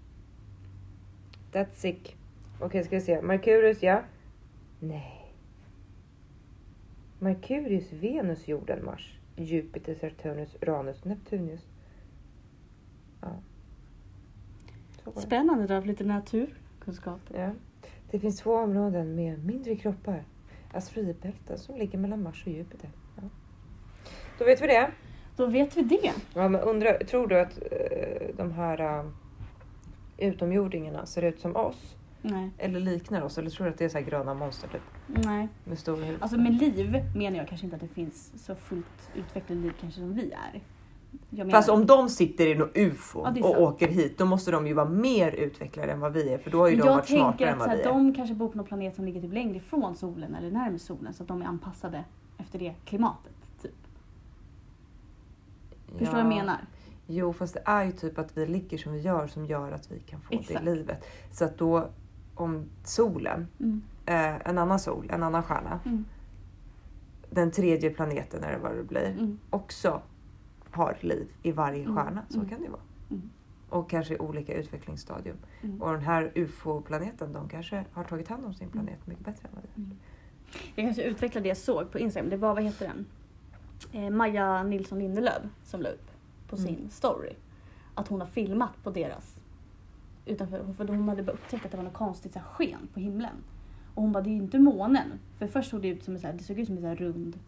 Speaker 3: That's sick. Okej, ska vi se. Merkurius, ja. Nej. Merkurius, Venus, jorden, Mars, Jupiter, Saturnus, Uranus, Neptunus. Ja. Så var det.
Speaker 2: Spännande då, lite naturkunskap.
Speaker 3: Ja. Det finns två områden med mindre kroppar. Asteroidbälten som ligger mellan Mars och Jupiter. Ja. Då vet vi det.
Speaker 2: Då vet vi det.
Speaker 3: Ja, men undrar, tror du att eh, de här eh, utomjordingarna ser ut som oss?
Speaker 2: Nej.
Speaker 3: Eller liknar oss? Eller tror du att det är så här gröna monster typ,
Speaker 2: Nej.
Speaker 3: med stora huvud?
Speaker 2: Alltså med liv menar jag kanske inte att det finns så fullt utvecklat liv kanske som vi är. Jag menar,
Speaker 3: Fast om de sitter i något UFO
Speaker 2: Ja, det är
Speaker 3: och
Speaker 2: sant.
Speaker 3: åker hit, då måste de ju vara mer utvecklade än vad vi är. För då har ju
Speaker 2: Men
Speaker 3: de
Speaker 2: jag
Speaker 3: varit
Speaker 2: tänker
Speaker 3: smartare
Speaker 2: att så
Speaker 3: än vad vi
Speaker 2: här,
Speaker 3: är.
Speaker 2: de kanske bor på någon planet som ligger typ längre ifrån solen eller närmare solen så att de är anpassade efter det klimatet. Typ. Förstår du vad jag menar?
Speaker 3: Jo, fast det är ju typ att vi ligger som vi gör som gör att vi kan få
Speaker 2: Exakt.
Speaker 3: det livet. Så att då, om solen,
Speaker 2: Mm.
Speaker 3: eh, en annan sol, en annan stjärna,
Speaker 2: Mm.
Speaker 3: den tredje planeten eller vad det blir,
Speaker 2: Mm.
Speaker 3: också har liv i varje
Speaker 2: Mm,
Speaker 3: stjärna. Så
Speaker 2: mm.
Speaker 3: kan det ju vara.
Speaker 2: Mm.
Speaker 3: Och kanske i olika utvecklingsstadium.
Speaker 2: Mm.
Speaker 3: Och den här ufo-planeten, de kanske har tagit hand om sin planet mycket bättre än vad vi har.
Speaker 2: Jag kanske utvecklar det jag såg på Instagram. Det var, vad heter den? Eh, Maja Nilsson Lindelöf som la upp på sin
Speaker 3: Mm.
Speaker 2: story. Att hon har filmat på deras utanför, för hon hade bara upptäckt att det var något konstigt så här, sken på himlen. Och hon bara, det är ju inte månen. För först såg det ut som en, så här, det såg ut som en så här, rund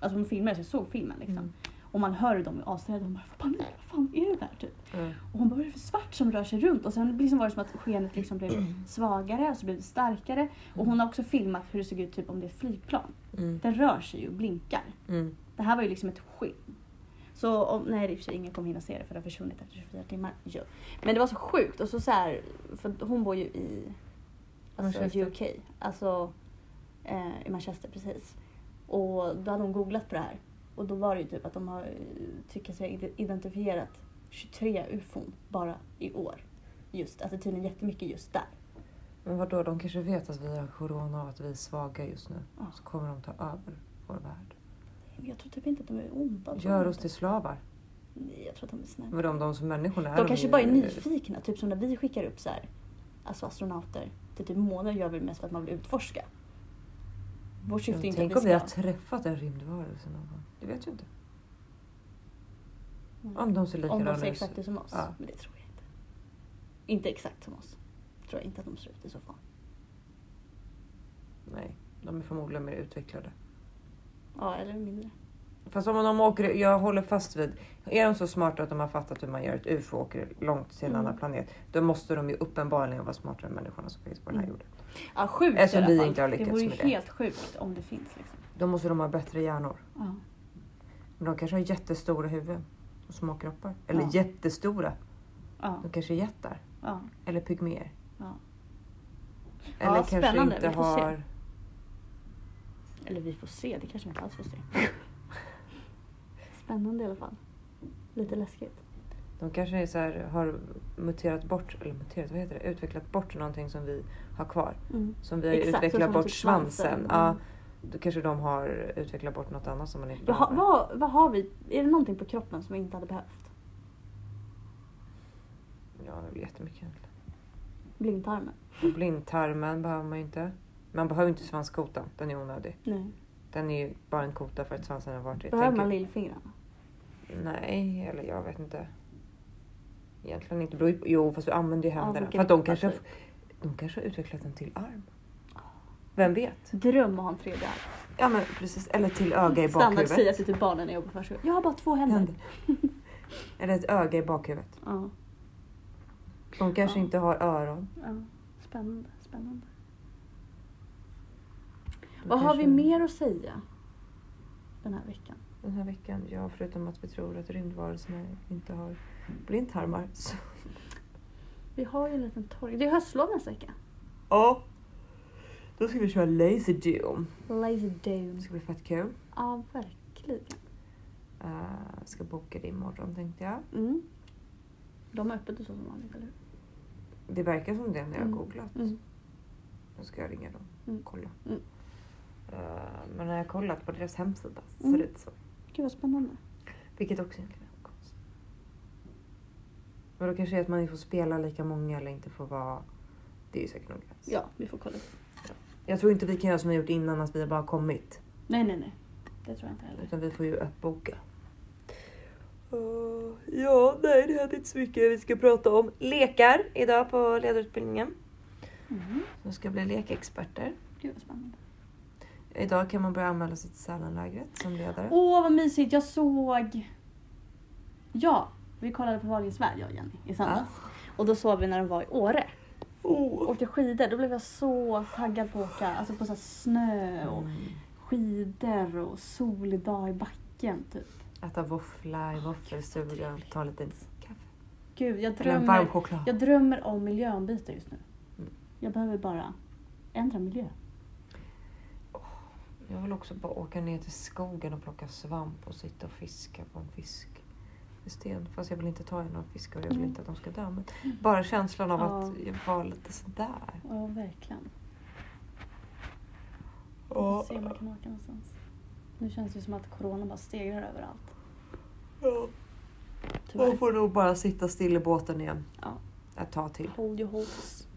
Speaker 2: Alltså de filmade så jag såg filmen liksom.
Speaker 3: Mm.
Speaker 2: Och man hör hur de är asrädda. De bara får panik. Vad fan är det där typ?
Speaker 3: Ja.
Speaker 2: Och hon bara, vad är det för svart som rör sig runt? Och sen liksom var det som att skenet liksom blev svagare och så blev det starkare. Och hon har också filmat hur det såg ut typ om det är ett flygplan.
Speaker 3: Mm.
Speaker 2: Den rör sig ju och blinkar.
Speaker 3: Mm.
Speaker 2: Det här var ju liksom ett skinn. Så om, nej i och för sig ingen kommer hinna se det för det har försvunnit efter 24 timmar. Jo. Men det var så sjukt och så så här, för hon bor ju i alltså,
Speaker 3: Manchester.
Speaker 2: UK. Alltså eh, i Manchester precis. Och då hade hon googlat på det här. Och då var det ju typ att de har eh, tycker sig ha ide- identifierat 23 ufon bara i år. Just, alltså tydligen jättemycket just där.
Speaker 3: Men vadå, de kanske vet att vi har corona och att vi är svaga just nu.
Speaker 2: Ja.
Speaker 3: Så kommer de ta över vår värld.
Speaker 2: Men jag tror typ inte att de är onda.
Speaker 3: Gör oss till slavar.
Speaker 2: Nej, jag tror att de är snälla.
Speaker 3: Vadå, om de som människor är
Speaker 2: De kanske
Speaker 3: ju-
Speaker 2: bara är nyfikna, typ som när vi skickar upp så här, alltså astronauter till typ månen gör vi det mest för att man vill utforska. Vårt syfte är
Speaker 3: Ja,
Speaker 2: inte
Speaker 3: Tänk
Speaker 2: att
Speaker 3: om
Speaker 2: vi
Speaker 3: vi
Speaker 2: ska...
Speaker 3: har träffat en rymdvarelse någon gång. Det vet ju inte.
Speaker 2: Mm.
Speaker 3: Om de ser
Speaker 2: Om
Speaker 3: likadana
Speaker 2: de ser
Speaker 3: ut.
Speaker 2: exakt ut som oss.
Speaker 3: Ja.
Speaker 2: Men det tror jag inte. Inte exakt som oss. Tror jag inte att de ser ut i så fall.
Speaker 3: Nej, de är förmodligen mer utvecklade.
Speaker 2: Ja, eller mindre.
Speaker 3: Fast om de åker, jag håller fast vid, är de så smarta att de har fattat hur man gör ett UFO och åker långt till en
Speaker 2: Mm.
Speaker 3: annan planet, då måste de ju uppenbarligen vara smartare än människorna som finns på den här
Speaker 2: Mm.
Speaker 3: jorden.
Speaker 2: Ja, sjukt
Speaker 3: Eftersom
Speaker 2: i alla
Speaker 3: Alltså, vi
Speaker 2: fall.
Speaker 3: inte har lyckats
Speaker 2: det vore ju
Speaker 3: med det.
Speaker 2: helt sjukt om det finns liksom.
Speaker 3: Då måste de ha bättre hjärnor.
Speaker 2: Ja.
Speaker 3: Men de kanske har jättestora huvuden och små kroppar. Eller
Speaker 2: Ja.
Speaker 3: jättestora.
Speaker 2: Ja.
Speaker 3: De kanske är jättar.
Speaker 2: ja.
Speaker 3: Eller pygméer.
Speaker 2: Ja. Ja,
Speaker 3: Eller kanske
Speaker 2: spännande.
Speaker 3: inte
Speaker 2: Vi får se.
Speaker 3: har...
Speaker 2: Eller vi får se, det kanske vi inte alls får se. Spännande i alla fall. Lite läskigt.
Speaker 3: De kanske är så här, har muterat bort, eller muterat, vad heter det? Utvecklat bort någonting som vi har kvar.
Speaker 2: Mm.
Speaker 3: Som vi har
Speaker 2: Exakt, så
Speaker 3: utvecklat
Speaker 2: som
Speaker 3: bort
Speaker 2: typ
Speaker 3: svansen.
Speaker 2: svansen.
Speaker 3: Ja,
Speaker 2: Mm.
Speaker 3: då kanske de har utvecklat bort något annat som man inte
Speaker 2: Jaha,
Speaker 3: behöver.
Speaker 2: vad, vad har vi? Är det någonting på kroppen som vi inte hade behövt?
Speaker 3: Ja, det blir jättemycket egentligen.
Speaker 2: Blindtarmen?
Speaker 3: Och Blindtarmen behöver man ju inte. Man behöver ju inte svanskotan, den är onödig.
Speaker 2: Nej.
Speaker 3: Den är ju bara en kota för att svansen har varit i.
Speaker 2: Behöver
Speaker 3: Tänker-
Speaker 2: man lillfingrarna?
Speaker 3: Nej, eller jag vet inte. Egentligen inte. Beror ju på- Jo, fast du använder ju
Speaker 2: Ja,
Speaker 3: händerna.
Speaker 2: de
Speaker 3: för
Speaker 2: kan
Speaker 3: att de
Speaker 2: hoppa
Speaker 3: kanske,
Speaker 2: typ.
Speaker 3: de kanske har utvecklat en till arm. Vem vet?
Speaker 2: Dröm att ha en tredje arm.
Speaker 3: Ja, men precis. Eller till öga i
Speaker 2: Standard säga
Speaker 3: bakhuvudet.
Speaker 2: till typ barnen när jag jobbar på förskolan. Jag har bara två händer.
Speaker 3: Händer. Eller ett öga i bakhuvudet.
Speaker 2: Ja,
Speaker 3: De kanske
Speaker 2: Ja.
Speaker 3: inte har öron.
Speaker 2: ja. Spännande, spännande.
Speaker 3: De
Speaker 2: Vad har vi
Speaker 3: kanske-
Speaker 2: mer att säga den här veckan?
Speaker 3: Den här veckan, ja, förutom att vi tror att rymdvarelserna inte har blindtarmar. Så.
Speaker 2: Vi har ju en liten torg. Det är höstlov nästa vecka.
Speaker 3: Ja. Då ska vi köra lazy doom.
Speaker 2: Lazy
Speaker 3: Det
Speaker 2: Doom.
Speaker 3: ska bli fett kul.
Speaker 2: Ja, verkligen.
Speaker 3: Uh, ska boka det imorgon tänkte jag.
Speaker 2: Mm. De har öppet och så som vanligt, eller hur?
Speaker 3: Det verkar som det när jag har
Speaker 2: Mm.
Speaker 3: googlat.
Speaker 2: Mm.
Speaker 3: Nu ska jag ringa dem
Speaker 2: Mm.
Speaker 3: och kolla.
Speaker 2: Mm.
Speaker 3: Eh, men när jag har kollat på deras hemsida så
Speaker 2: Mm.
Speaker 3: ser det ut så.
Speaker 2: Gud vad spännande.
Speaker 3: Vilket också egentligen är konstigt. Men då kanske det är att man inte får spela lika många eller inte får vara... Det är ju säkert någon gräns.
Speaker 2: Ja, vi får kolla.
Speaker 3: Jag tror inte vi kan göra som vi gjort innan att vi bara har kommit.
Speaker 2: Nej, nej, nej. Det tror jag inte heller.
Speaker 3: Utan vi får ju uppboka. ja, nej det hade inte så mycket vi ska prata om. Lekar idag på ledarutbildningen.
Speaker 2: Mm.
Speaker 3: De ska bli lekexperter.
Speaker 2: Gud vad spännande.
Speaker 3: Idag kan man börja anmäla sig till Sälenlägret som ledare.
Speaker 2: Åh, vad mysigt. Jag såg... Ja, vi kollade på Wahlgrens värld, jag och Jenny, i söndags. Och då såg vi när den var i Åre.
Speaker 3: Oh.
Speaker 2: Åkte skidor. Då blev jag så taggad på att åka. Alltså på så här snö och
Speaker 3: Mm.
Speaker 2: skidor och solig dag i backen, typ.
Speaker 3: Äta våffla i våffelstuga och ta lite kaffe.
Speaker 2: Gud, jag
Speaker 3: Eller en varm
Speaker 2: drömmer,
Speaker 3: choklad.
Speaker 2: jag drömmer om miljöombyte just nu.
Speaker 3: Mm.
Speaker 2: Jag behöver bara ändra miljö.
Speaker 3: Jag vill också bara åka ner till skogen och plocka svamp och sitta och fiska på en fisk. i Sten. Fast jag vill inte ta i några fiskar och jag vill
Speaker 2: Mm.
Speaker 3: inte att de ska dö. Men bara känslan av
Speaker 2: Ja.
Speaker 3: att vara lite sådär.
Speaker 2: Ja, verkligen. Vi får
Speaker 3: Ja.
Speaker 2: se om man kan åka någonstans. Nu känns det som att corona bara stegrar överallt.
Speaker 3: Ja.
Speaker 2: Tyvärr.
Speaker 3: Man får nog bara sitta still i båten igen.
Speaker 2: Ja.
Speaker 3: Ett tag till.
Speaker 2: Hold your horses.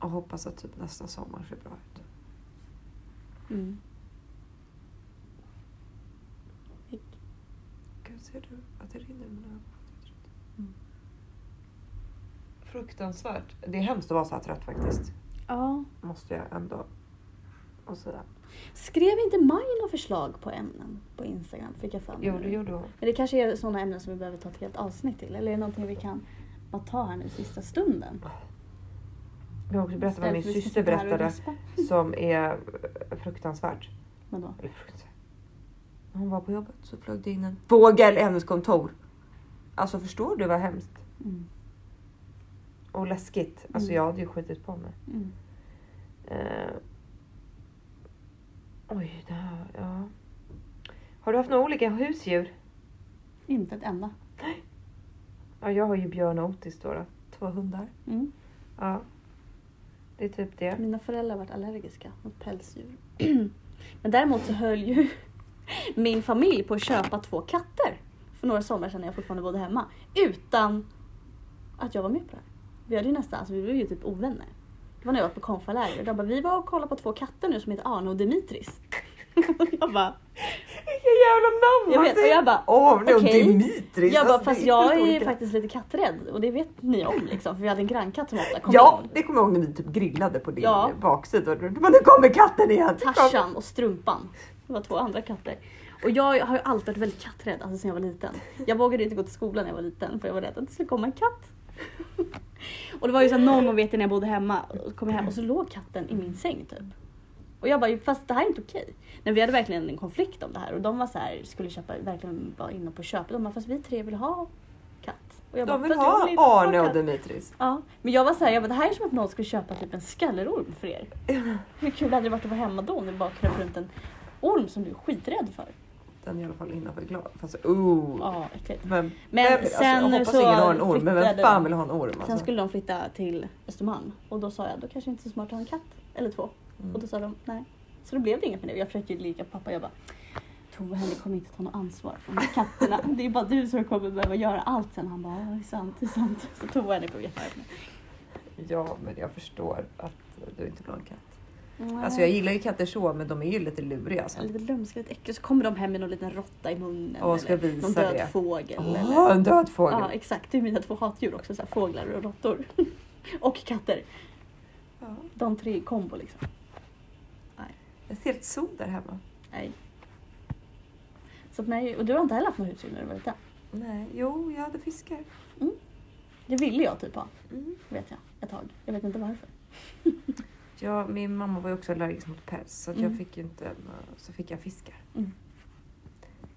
Speaker 3: Och hoppas att typ nästa sommar ser bra ut.
Speaker 2: Mm.
Speaker 3: Gud, ser du att det rinner i mina ögon?
Speaker 2: Mm.
Speaker 3: Fruktansvärt. Det är hemskt att vara så här trött faktiskt.
Speaker 2: Ja,
Speaker 3: Måste jag ändå och säga.
Speaker 2: Skrev inte Maj några förslag på ämnen på Instagram? Fick jag för mig
Speaker 3: Jo,
Speaker 2: nu.
Speaker 3: det gjorde hon.
Speaker 2: Men det kanske är sådana ämnen som vi behöver ta ett helt avsnitt till. Eller är det någonting vi kan bara ta här nu i sista stunden?
Speaker 3: Jag har också berättat vad min
Speaker 2: Istället för att vi ska
Speaker 3: syster
Speaker 2: sitta här och
Speaker 3: berättade
Speaker 2: raspa.
Speaker 3: som är eh, fruktansvärt.
Speaker 2: Vadå?
Speaker 3: Eller fruktansvärt. När hon var på jobbet så flög det in en fågel i hennes kontor. Alltså förstår du vad hemskt
Speaker 2: Mm.
Speaker 3: och läskigt. Alltså
Speaker 2: Mm.
Speaker 3: jag hade ju skitit på mig.
Speaker 2: Mm.
Speaker 3: Eh. Oj, det här, ja. Har du haft några olika husdjur?
Speaker 2: Inte ett enda.
Speaker 3: Ja, jag har ju Björn och Otis då. då. Två hundar.
Speaker 2: Mm.
Speaker 3: Ja. Det är typ det.
Speaker 2: Mina föräldrar har varit allergiska mot pälsdjur. Men däremot så höll ju min familj på att köpa två katter för några somrar sedan när jag fortfarande bodde hemma. Utan att jag var med på det. Vi hade ju nästan, alltså vi blev ju typ ovänner. Det var när jag var på konfaläger och de bara, vi var och kollade på två katter nu som heter Arne och Dimitris. Och jag bara,
Speaker 3: Vilka jävla namn!
Speaker 2: Jag vet, och jag bara,
Speaker 3: Arne och
Speaker 2: okej.
Speaker 3: Dimitris.
Speaker 2: jag bara
Speaker 3: alltså,
Speaker 2: fast
Speaker 3: det
Speaker 2: jag
Speaker 3: helt
Speaker 2: är
Speaker 3: olika.
Speaker 2: faktiskt lite katträdd och det vet ni om liksom för vi hade en grannkatt som ofta kom
Speaker 3: Ja,
Speaker 2: in.
Speaker 3: det kommer jag ihåg när vi typ grillade på din
Speaker 2: Ja.
Speaker 3: baksida. Men nu kommer katten igen!
Speaker 2: Tarzan och Strumpan. Det var två andra katter. Och jag har ju alltid varit väldigt katträdd, alltså sen jag var liten. Jag vågade inte gå till skolan när jag var liten för jag var rädd att det skulle komma en katt. Och det var ju så här, någon gång vet jag när jag bodde hemma, och kom jag hem och så låg katten i min säng typ. Och jag bara, fast det här är inte okej. Men vi hade verkligen en konflikt om det här och de var så här, skulle köpa, verkligen vara inne på köpet. De bara, fast vi tre vill ha katt. Och jag bara,
Speaker 3: De vill
Speaker 2: "Fast jag
Speaker 3: ha
Speaker 2: inte
Speaker 3: Arne
Speaker 2: katt."
Speaker 3: och Dimitris.
Speaker 2: Ja, men jag var så här, jag bara, det här är som att någon skulle köpa typ en skallerorm för er. Hur kul hade det varit att vara hemma då om det bara kröp runt en orm som du är skiträdd för?
Speaker 3: Den är i alla fall innanför glas. Fast oh.
Speaker 2: Ja, äckligt.
Speaker 3: Men,
Speaker 2: Men sen
Speaker 3: jag hoppas
Speaker 2: så
Speaker 3: ingen har en orm, men vem
Speaker 2: flyttade-
Speaker 3: fan vill ha en orm? Alltså?
Speaker 2: Sen skulle de flytta till Östermalm och då sa jag, då kanske inte så smart att ha en katt eller två.
Speaker 3: Mm.
Speaker 2: Och då sa de nej. Så då blev det inget med det. Jag försökte ju lika på pappa. Jag bara Tove och Henrik kommer inte ta något ansvar för de här katterna. Det är bara du som kommer behöva göra allt sen. Han bara, ja det är sant, det är sant. Så Tove och Henrik blev jättearga på mig.
Speaker 3: Ja, men jag förstår att du inte vill ha en katt. Alltså jag gillar ju katter så, men de är ju lite luriga. Alltså.
Speaker 2: Lite lömska, lite äckliga. Så kommer de hem med någon liten råtta i munnen.
Speaker 3: Och ska
Speaker 2: eller någon
Speaker 3: visa
Speaker 2: död
Speaker 3: det.
Speaker 2: fågel. eller...
Speaker 3: Åh, en död fågel!
Speaker 2: Ja, exakt. Det är mina två hatdjur också. Så här, fåglar och råttor. och katter.
Speaker 3: Ja.
Speaker 2: De tre i kombo liksom.
Speaker 3: Jag ser ett zoo där hemma.
Speaker 2: Nej. Så att nej, och du har inte heller haft något husdjur när du var liten?
Speaker 3: Nej, jo, jag hade fiskar.
Speaker 2: Det ville jag typ ha,
Speaker 3: Mm.
Speaker 2: vet jag. Ett tag. Jag vet inte varför.
Speaker 3: Ja, min mamma var ju också allergisk mot päls så att
Speaker 2: Mm.
Speaker 3: jag fick ju inte, så fick jag fiskar.
Speaker 2: Mm.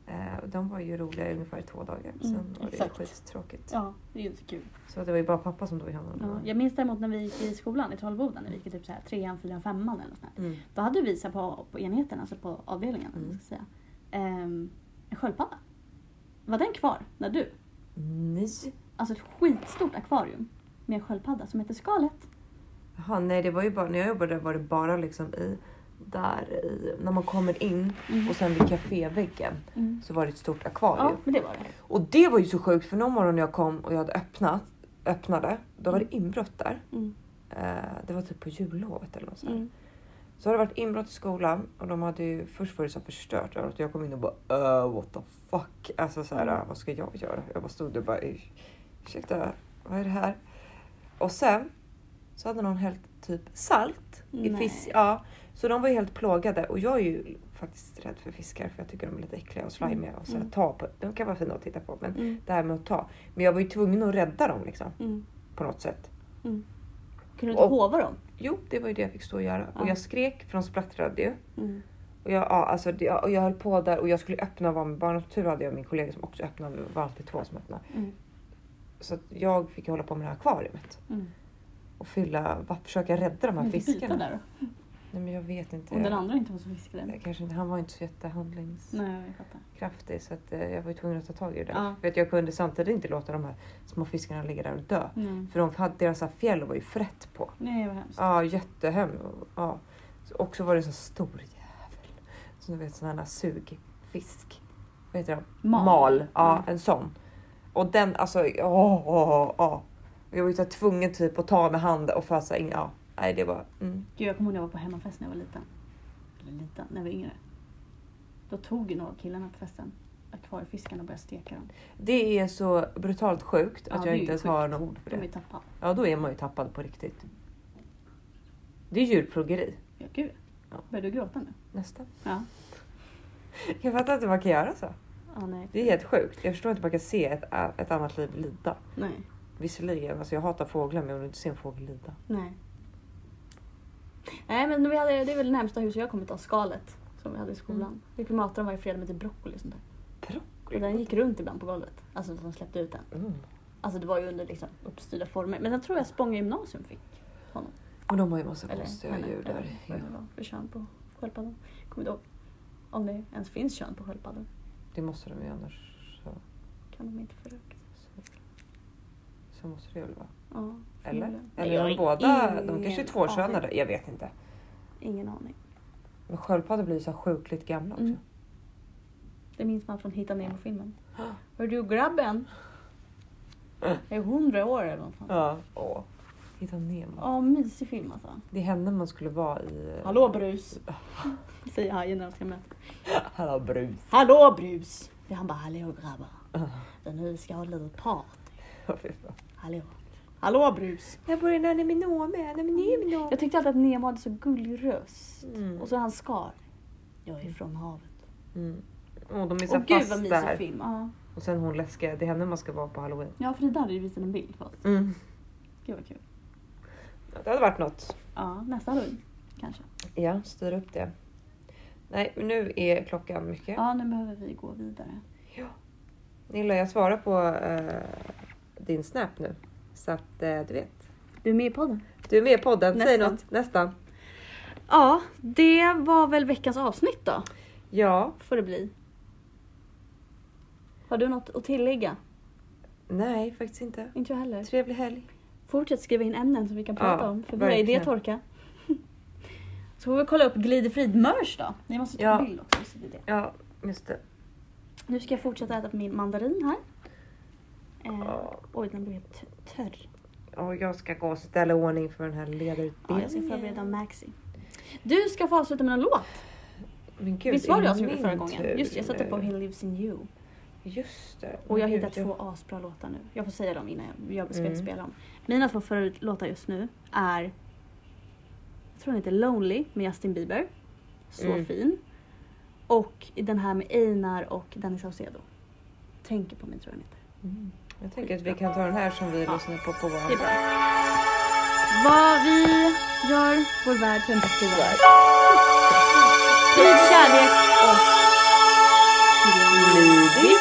Speaker 3: Eh, och de var ju roliga i ungefär två dagar, sen
Speaker 2: Mm,
Speaker 3: var det
Speaker 2: exakt.
Speaker 3: skittråkigt.
Speaker 2: Ja, det är ju inte så kul.
Speaker 3: Så det var ju bara pappa som tog hand om
Speaker 2: Ja.
Speaker 3: dem.
Speaker 2: Jag minns däremot när vi gick i skolan i Trollboda, när vi gick i typ så här trean, fyran, femman eller något sånt där.
Speaker 3: Mm.
Speaker 2: Då hade vi så här på, på enheten, alltså på avdelningen, om man
Speaker 3: Mm.
Speaker 2: ska säga, ehm, en sköldpadda. Var den kvar när du?
Speaker 3: Nej!
Speaker 2: Alltså ett skitstort akvarium med en sköldpadda som heter Skalet.
Speaker 3: Jaha, nej det var ju bara, när jag jobbade där var det bara liksom i, där i, när man kommer in och sen vid kaféväggen
Speaker 2: Mm.
Speaker 3: så var det ett stort
Speaker 2: Ja,
Speaker 3: akvarium.
Speaker 2: men det var det.
Speaker 3: Och det var ju så sjukt för någon morgon när jag kom och jag hade öppnat, öppnade, då var det inbrott där.
Speaker 2: Mm.
Speaker 3: Eh, det var typ på jullovet eller något sånt. här. Så har det varit inbrott i skolan och de hade ju först var det så här förstört överallt och jag kom in och bara uh, what the fuck. Alltså så här,
Speaker 2: Mm.
Speaker 3: vad ska jag göra? Jag bara stod där och bara "Ur- ursäkta, vad är det här? Och sen så hade någon hällt typ salt i
Speaker 2: Nej.
Speaker 3: fisk. Ja, så de var ju helt plågade och jag är ju faktiskt rädd för fiskar för jag tycker de är lite äckliga och slimiga och så här,
Speaker 2: Mm.
Speaker 3: ta på. De kan vara fina att titta på men
Speaker 2: Mm.
Speaker 3: det här med att ta. Men jag var ju tvungen att rädda dem liksom
Speaker 2: Mm.
Speaker 3: på något sätt.
Speaker 2: Kunde du inte
Speaker 3: Och-
Speaker 2: hova dem?
Speaker 3: Jo, det var ju det jag fick stå och göra och
Speaker 2: Ja.
Speaker 3: jag skrek för de splattrade ju.
Speaker 2: Mm.
Speaker 3: Och jag, ja, alltså, det, ja, och jag höll på där och jag skulle öppna varm, bara tur hade jag min kollega som också öppnade, vi var alltid två som öppnade.
Speaker 2: Mm.
Speaker 3: Så att jag fick hålla på med det här akvariet
Speaker 2: Mm.
Speaker 3: och fylla, va, försöka rädda de här
Speaker 2: Men du byta
Speaker 3: fiskarna.
Speaker 2: där då?
Speaker 3: Nej men jag vet inte.
Speaker 2: Om den andra inte var så fiskrädd?
Speaker 3: Jag kanske inte, han var inte så
Speaker 2: Nej, jag fattar.
Speaker 3: jättehandlingskraftig så att, eh, jag var ju tvungen att ta tag i det där.
Speaker 2: Ja.
Speaker 3: För att jag kunde samtidigt inte låta de här små fiskarna ligga där och dö.
Speaker 2: Nej,
Speaker 3: För de hade, deras här fjäll var ju frätt på.
Speaker 2: Nej vad hemskt.
Speaker 3: Ja, jättehem. Ja. Så- Och så var det en så stor jävel. Så du vet sån här sugfisk. Vad heter de?
Speaker 2: Mal.
Speaker 3: Ja, en sån. Och den alltså, åh, åh, åh, åh. Jag var ju så här tvungen typ att ta med hand och fösa in. Ja, nej det var... Mm.
Speaker 2: Gud, jag kommer ihåg när jag var på hemmafest när jag var liten. Eller liten, när jag var yngre. Då tog ju några av killarna på festen akvariefiskarna och började steka dem.
Speaker 3: Det är så brutalt sjukt att
Speaker 2: Ja, det är
Speaker 3: jag
Speaker 2: ju
Speaker 3: inte ens
Speaker 2: sjukt.
Speaker 3: har några ord för
Speaker 2: De är ju
Speaker 3: det.
Speaker 2: tappade.
Speaker 3: Ja, då är man ju tappad på riktigt. Det är djurplågeri.
Speaker 2: Ja, gud. Börjar du gråta nu?
Speaker 3: Nästan.
Speaker 2: Ja.
Speaker 3: Jag fattar inte man kan göra så.
Speaker 2: Ja, nej.
Speaker 3: Det är helt sjukt. Jag förstår inte hur man kan se ett, ett annat liv lida.
Speaker 2: Nej.
Speaker 3: Visserligen, alltså jag hatar fåglar men jag vill inte se en fågel lida.
Speaker 2: Nej. Nej men vi hade, det är väl det närmsta huset jag kommit av, skalet. Som vi hade i skolan.
Speaker 3: Mm.
Speaker 2: Vi kunde mata dem varje fredag med lite broccoli och sånt där. Och den
Speaker 3: Broccoli?
Speaker 2: gick runt ibland på golvet. Alltså de släppte ut den.
Speaker 3: Mm.
Speaker 2: Alltså det var ju under liksom uppstyrda former. Men jag tror jag Spånga gymnasium fick honom.
Speaker 3: Och de har ju massa
Speaker 2: Eller
Speaker 3: konstiga
Speaker 2: henne,
Speaker 3: djur där.
Speaker 2: eller vad det var för kön på sköldpaddan. Kommer inte ihåg. Om det ens finns kön på sköldpaddor.
Speaker 3: Det måste de ju annars. Så,
Speaker 2: Kan de inte föröka sig.
Speaker 3: så, så måste det väl vara.
Speaker 2: Ja,
Speaker 3: Eller?
Speaker 2: förmodligen.
Speaker 3: Eller
Speaker 2: Jag
Speaker 3: är de
Speaker 2: har
Speaker 3: båda,
Speaker 2: ingen
Speaker 3: de kanske är
Speaker 2: aning.
Speaker 3: tvåkönade. Jag vet inte.
Speaker 2: Ingen aning.
Speaker 3: Men sköldpaddor blir ju så här sjukligt gamla också.
Speaker 2: Mm. Det minns man från Hitta Nemo-filmen.
Speaker 3: Ja.
Speaker 2: Hör du grabben? Jag är hundra år eller vad fan.
Speaker 3: Ja. Alltså, Åh. Hitta Nemo.
Speaker 2: Ja, mysig film alltså.
Speaker 3: Det är henne man skulle vara i... eh,
Speaker 2: Hallå brus! Säger hajen när de ska möta.
Speaker 3: Hallå brus.
Speaker 2: Hallå brus! Det är han bara, hallå grabbar. Så nu ska jag ha ett litet party. Hallå. Hallå brus!
Speaker 3: Jag bor i Naniminome. Naniminome.
Speaker 2: Jag tyckte alltid att Nemo hade så gullig röst.
Speaker 3: Mm.
Speaker 2: Och så han skar. Jag är från havet.
Speaker 3: Mm. Och de är så
Speaker 2: Åh
Speaker 3: här
Speaker 2: gud
Speaker 3: fast
Speaker 2: vad mysig
Speaker 3: där.
Speaker 2: film. Ja.
Speaker 3: Och sen hon läskiga, det är henne man ska vara på halloween.
Speaker 2: ja, Frida hade ju visat en bild för oss.
Speaker 3: Mm.
Speaker 2: Gud vad kul.
Speaker 3: Ja, Det hade varit något.
Speaker 2: Ja, nästa halloween kanske.
Speaker 3: Ja, styra upp det. Nej, men nu är klockan mycket.
Speaker 2: Ja, nu behöver vi gå vidare.
Speaker 3: Nilla, jag svarar på eh, din Snap nu. Så att eh, du vet.
Speaker 2: Du är med i podden?
Speaker 3: Du är med i podden, säg
Speaker 2: Nästan.
Speaker 3: något. Nästan.
Speaker 2: Ja, det var väl veckans avsnitt då,
Speaker 3: Ja,
Speaker 2: får det bli. Har du något att tillägga?
Speaker 3: nej faktiskt inte.
Speaker 2: Inte jag heller.
Speaker 3: Trevlig helg.
Speaker 2: Fortsätt skriva in ämnen som vi kan prata
Speaker 3: Ja,
Speaker 2: om, för våra
Speaker 3: verkligen.
Speaker 2: idéer torka. Så får vi kolla upp glidefrid merch då. Ni måste ta
Speaker 3: Ja.
Speaker 2: en bild också. Så det är det.
Speaker 3: Ja, just det.
Speaker 2: Nu ska jag fortsätta äta på min mandarin här. Eh,
Speaker 3: Ja.
Speaker 2: oj, den blev helt t- törr.
Speaker 3: Och jag ska gå och ställa ordning för den här
Speaker 2: Ja, jag ska
Speaker 3: ledarutbildningen.
Speaker 2: förbereda Maxi. Du ska få avsluta med en låt.
Speaker 3: Men gud,
Speaker 2: Visst var det jag som
Speaker 3: är
Speaker 2: gjorde förra
Speaker 3: min tur
Speaker 2: gången? Just det, jag satte
Speaker 3: nu?
Speaker 2: på He Lives In You.
Speaker 3: Just det.
Speaker 2: Och jag har
Speaker 3: Gud,
Speaker 2: hittat två asbra låtar nu. Jag får säga dem innan jag, jag ska
Speaker 3: Mm.
Speaker 2: spela dem. Mina två förut- låtar just nu är... Jag tror den heter Lonely med Justin Bieber. Så
Speaker 3: Mm.
Speaker 2: fin. Och den här med Einar och Danny Saucedo. Tänker på mig tror jag den heter.
Speaker 3: Mm. Jag tänker att vi kan ta den här som vi lyssnar på på
Speaker 2: Det är
Speaker 3: våran
Speaker 2: bra. Vad vi gör vår värld till en bättre värld. Sprid kärlek och... Lydig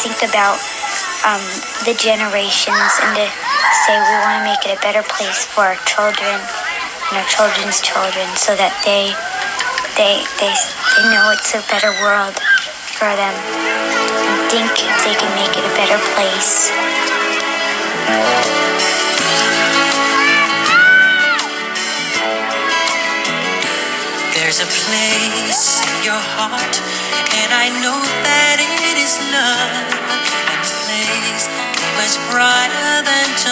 Speaker 4: think about um, the generations and to say we want to make it a better place for our children and our children's children so that they they they, they know it's a better world for them and think if they can make it a better place
Speaker 5: There's a place in your heart, and I know that it is love. A place much brighter than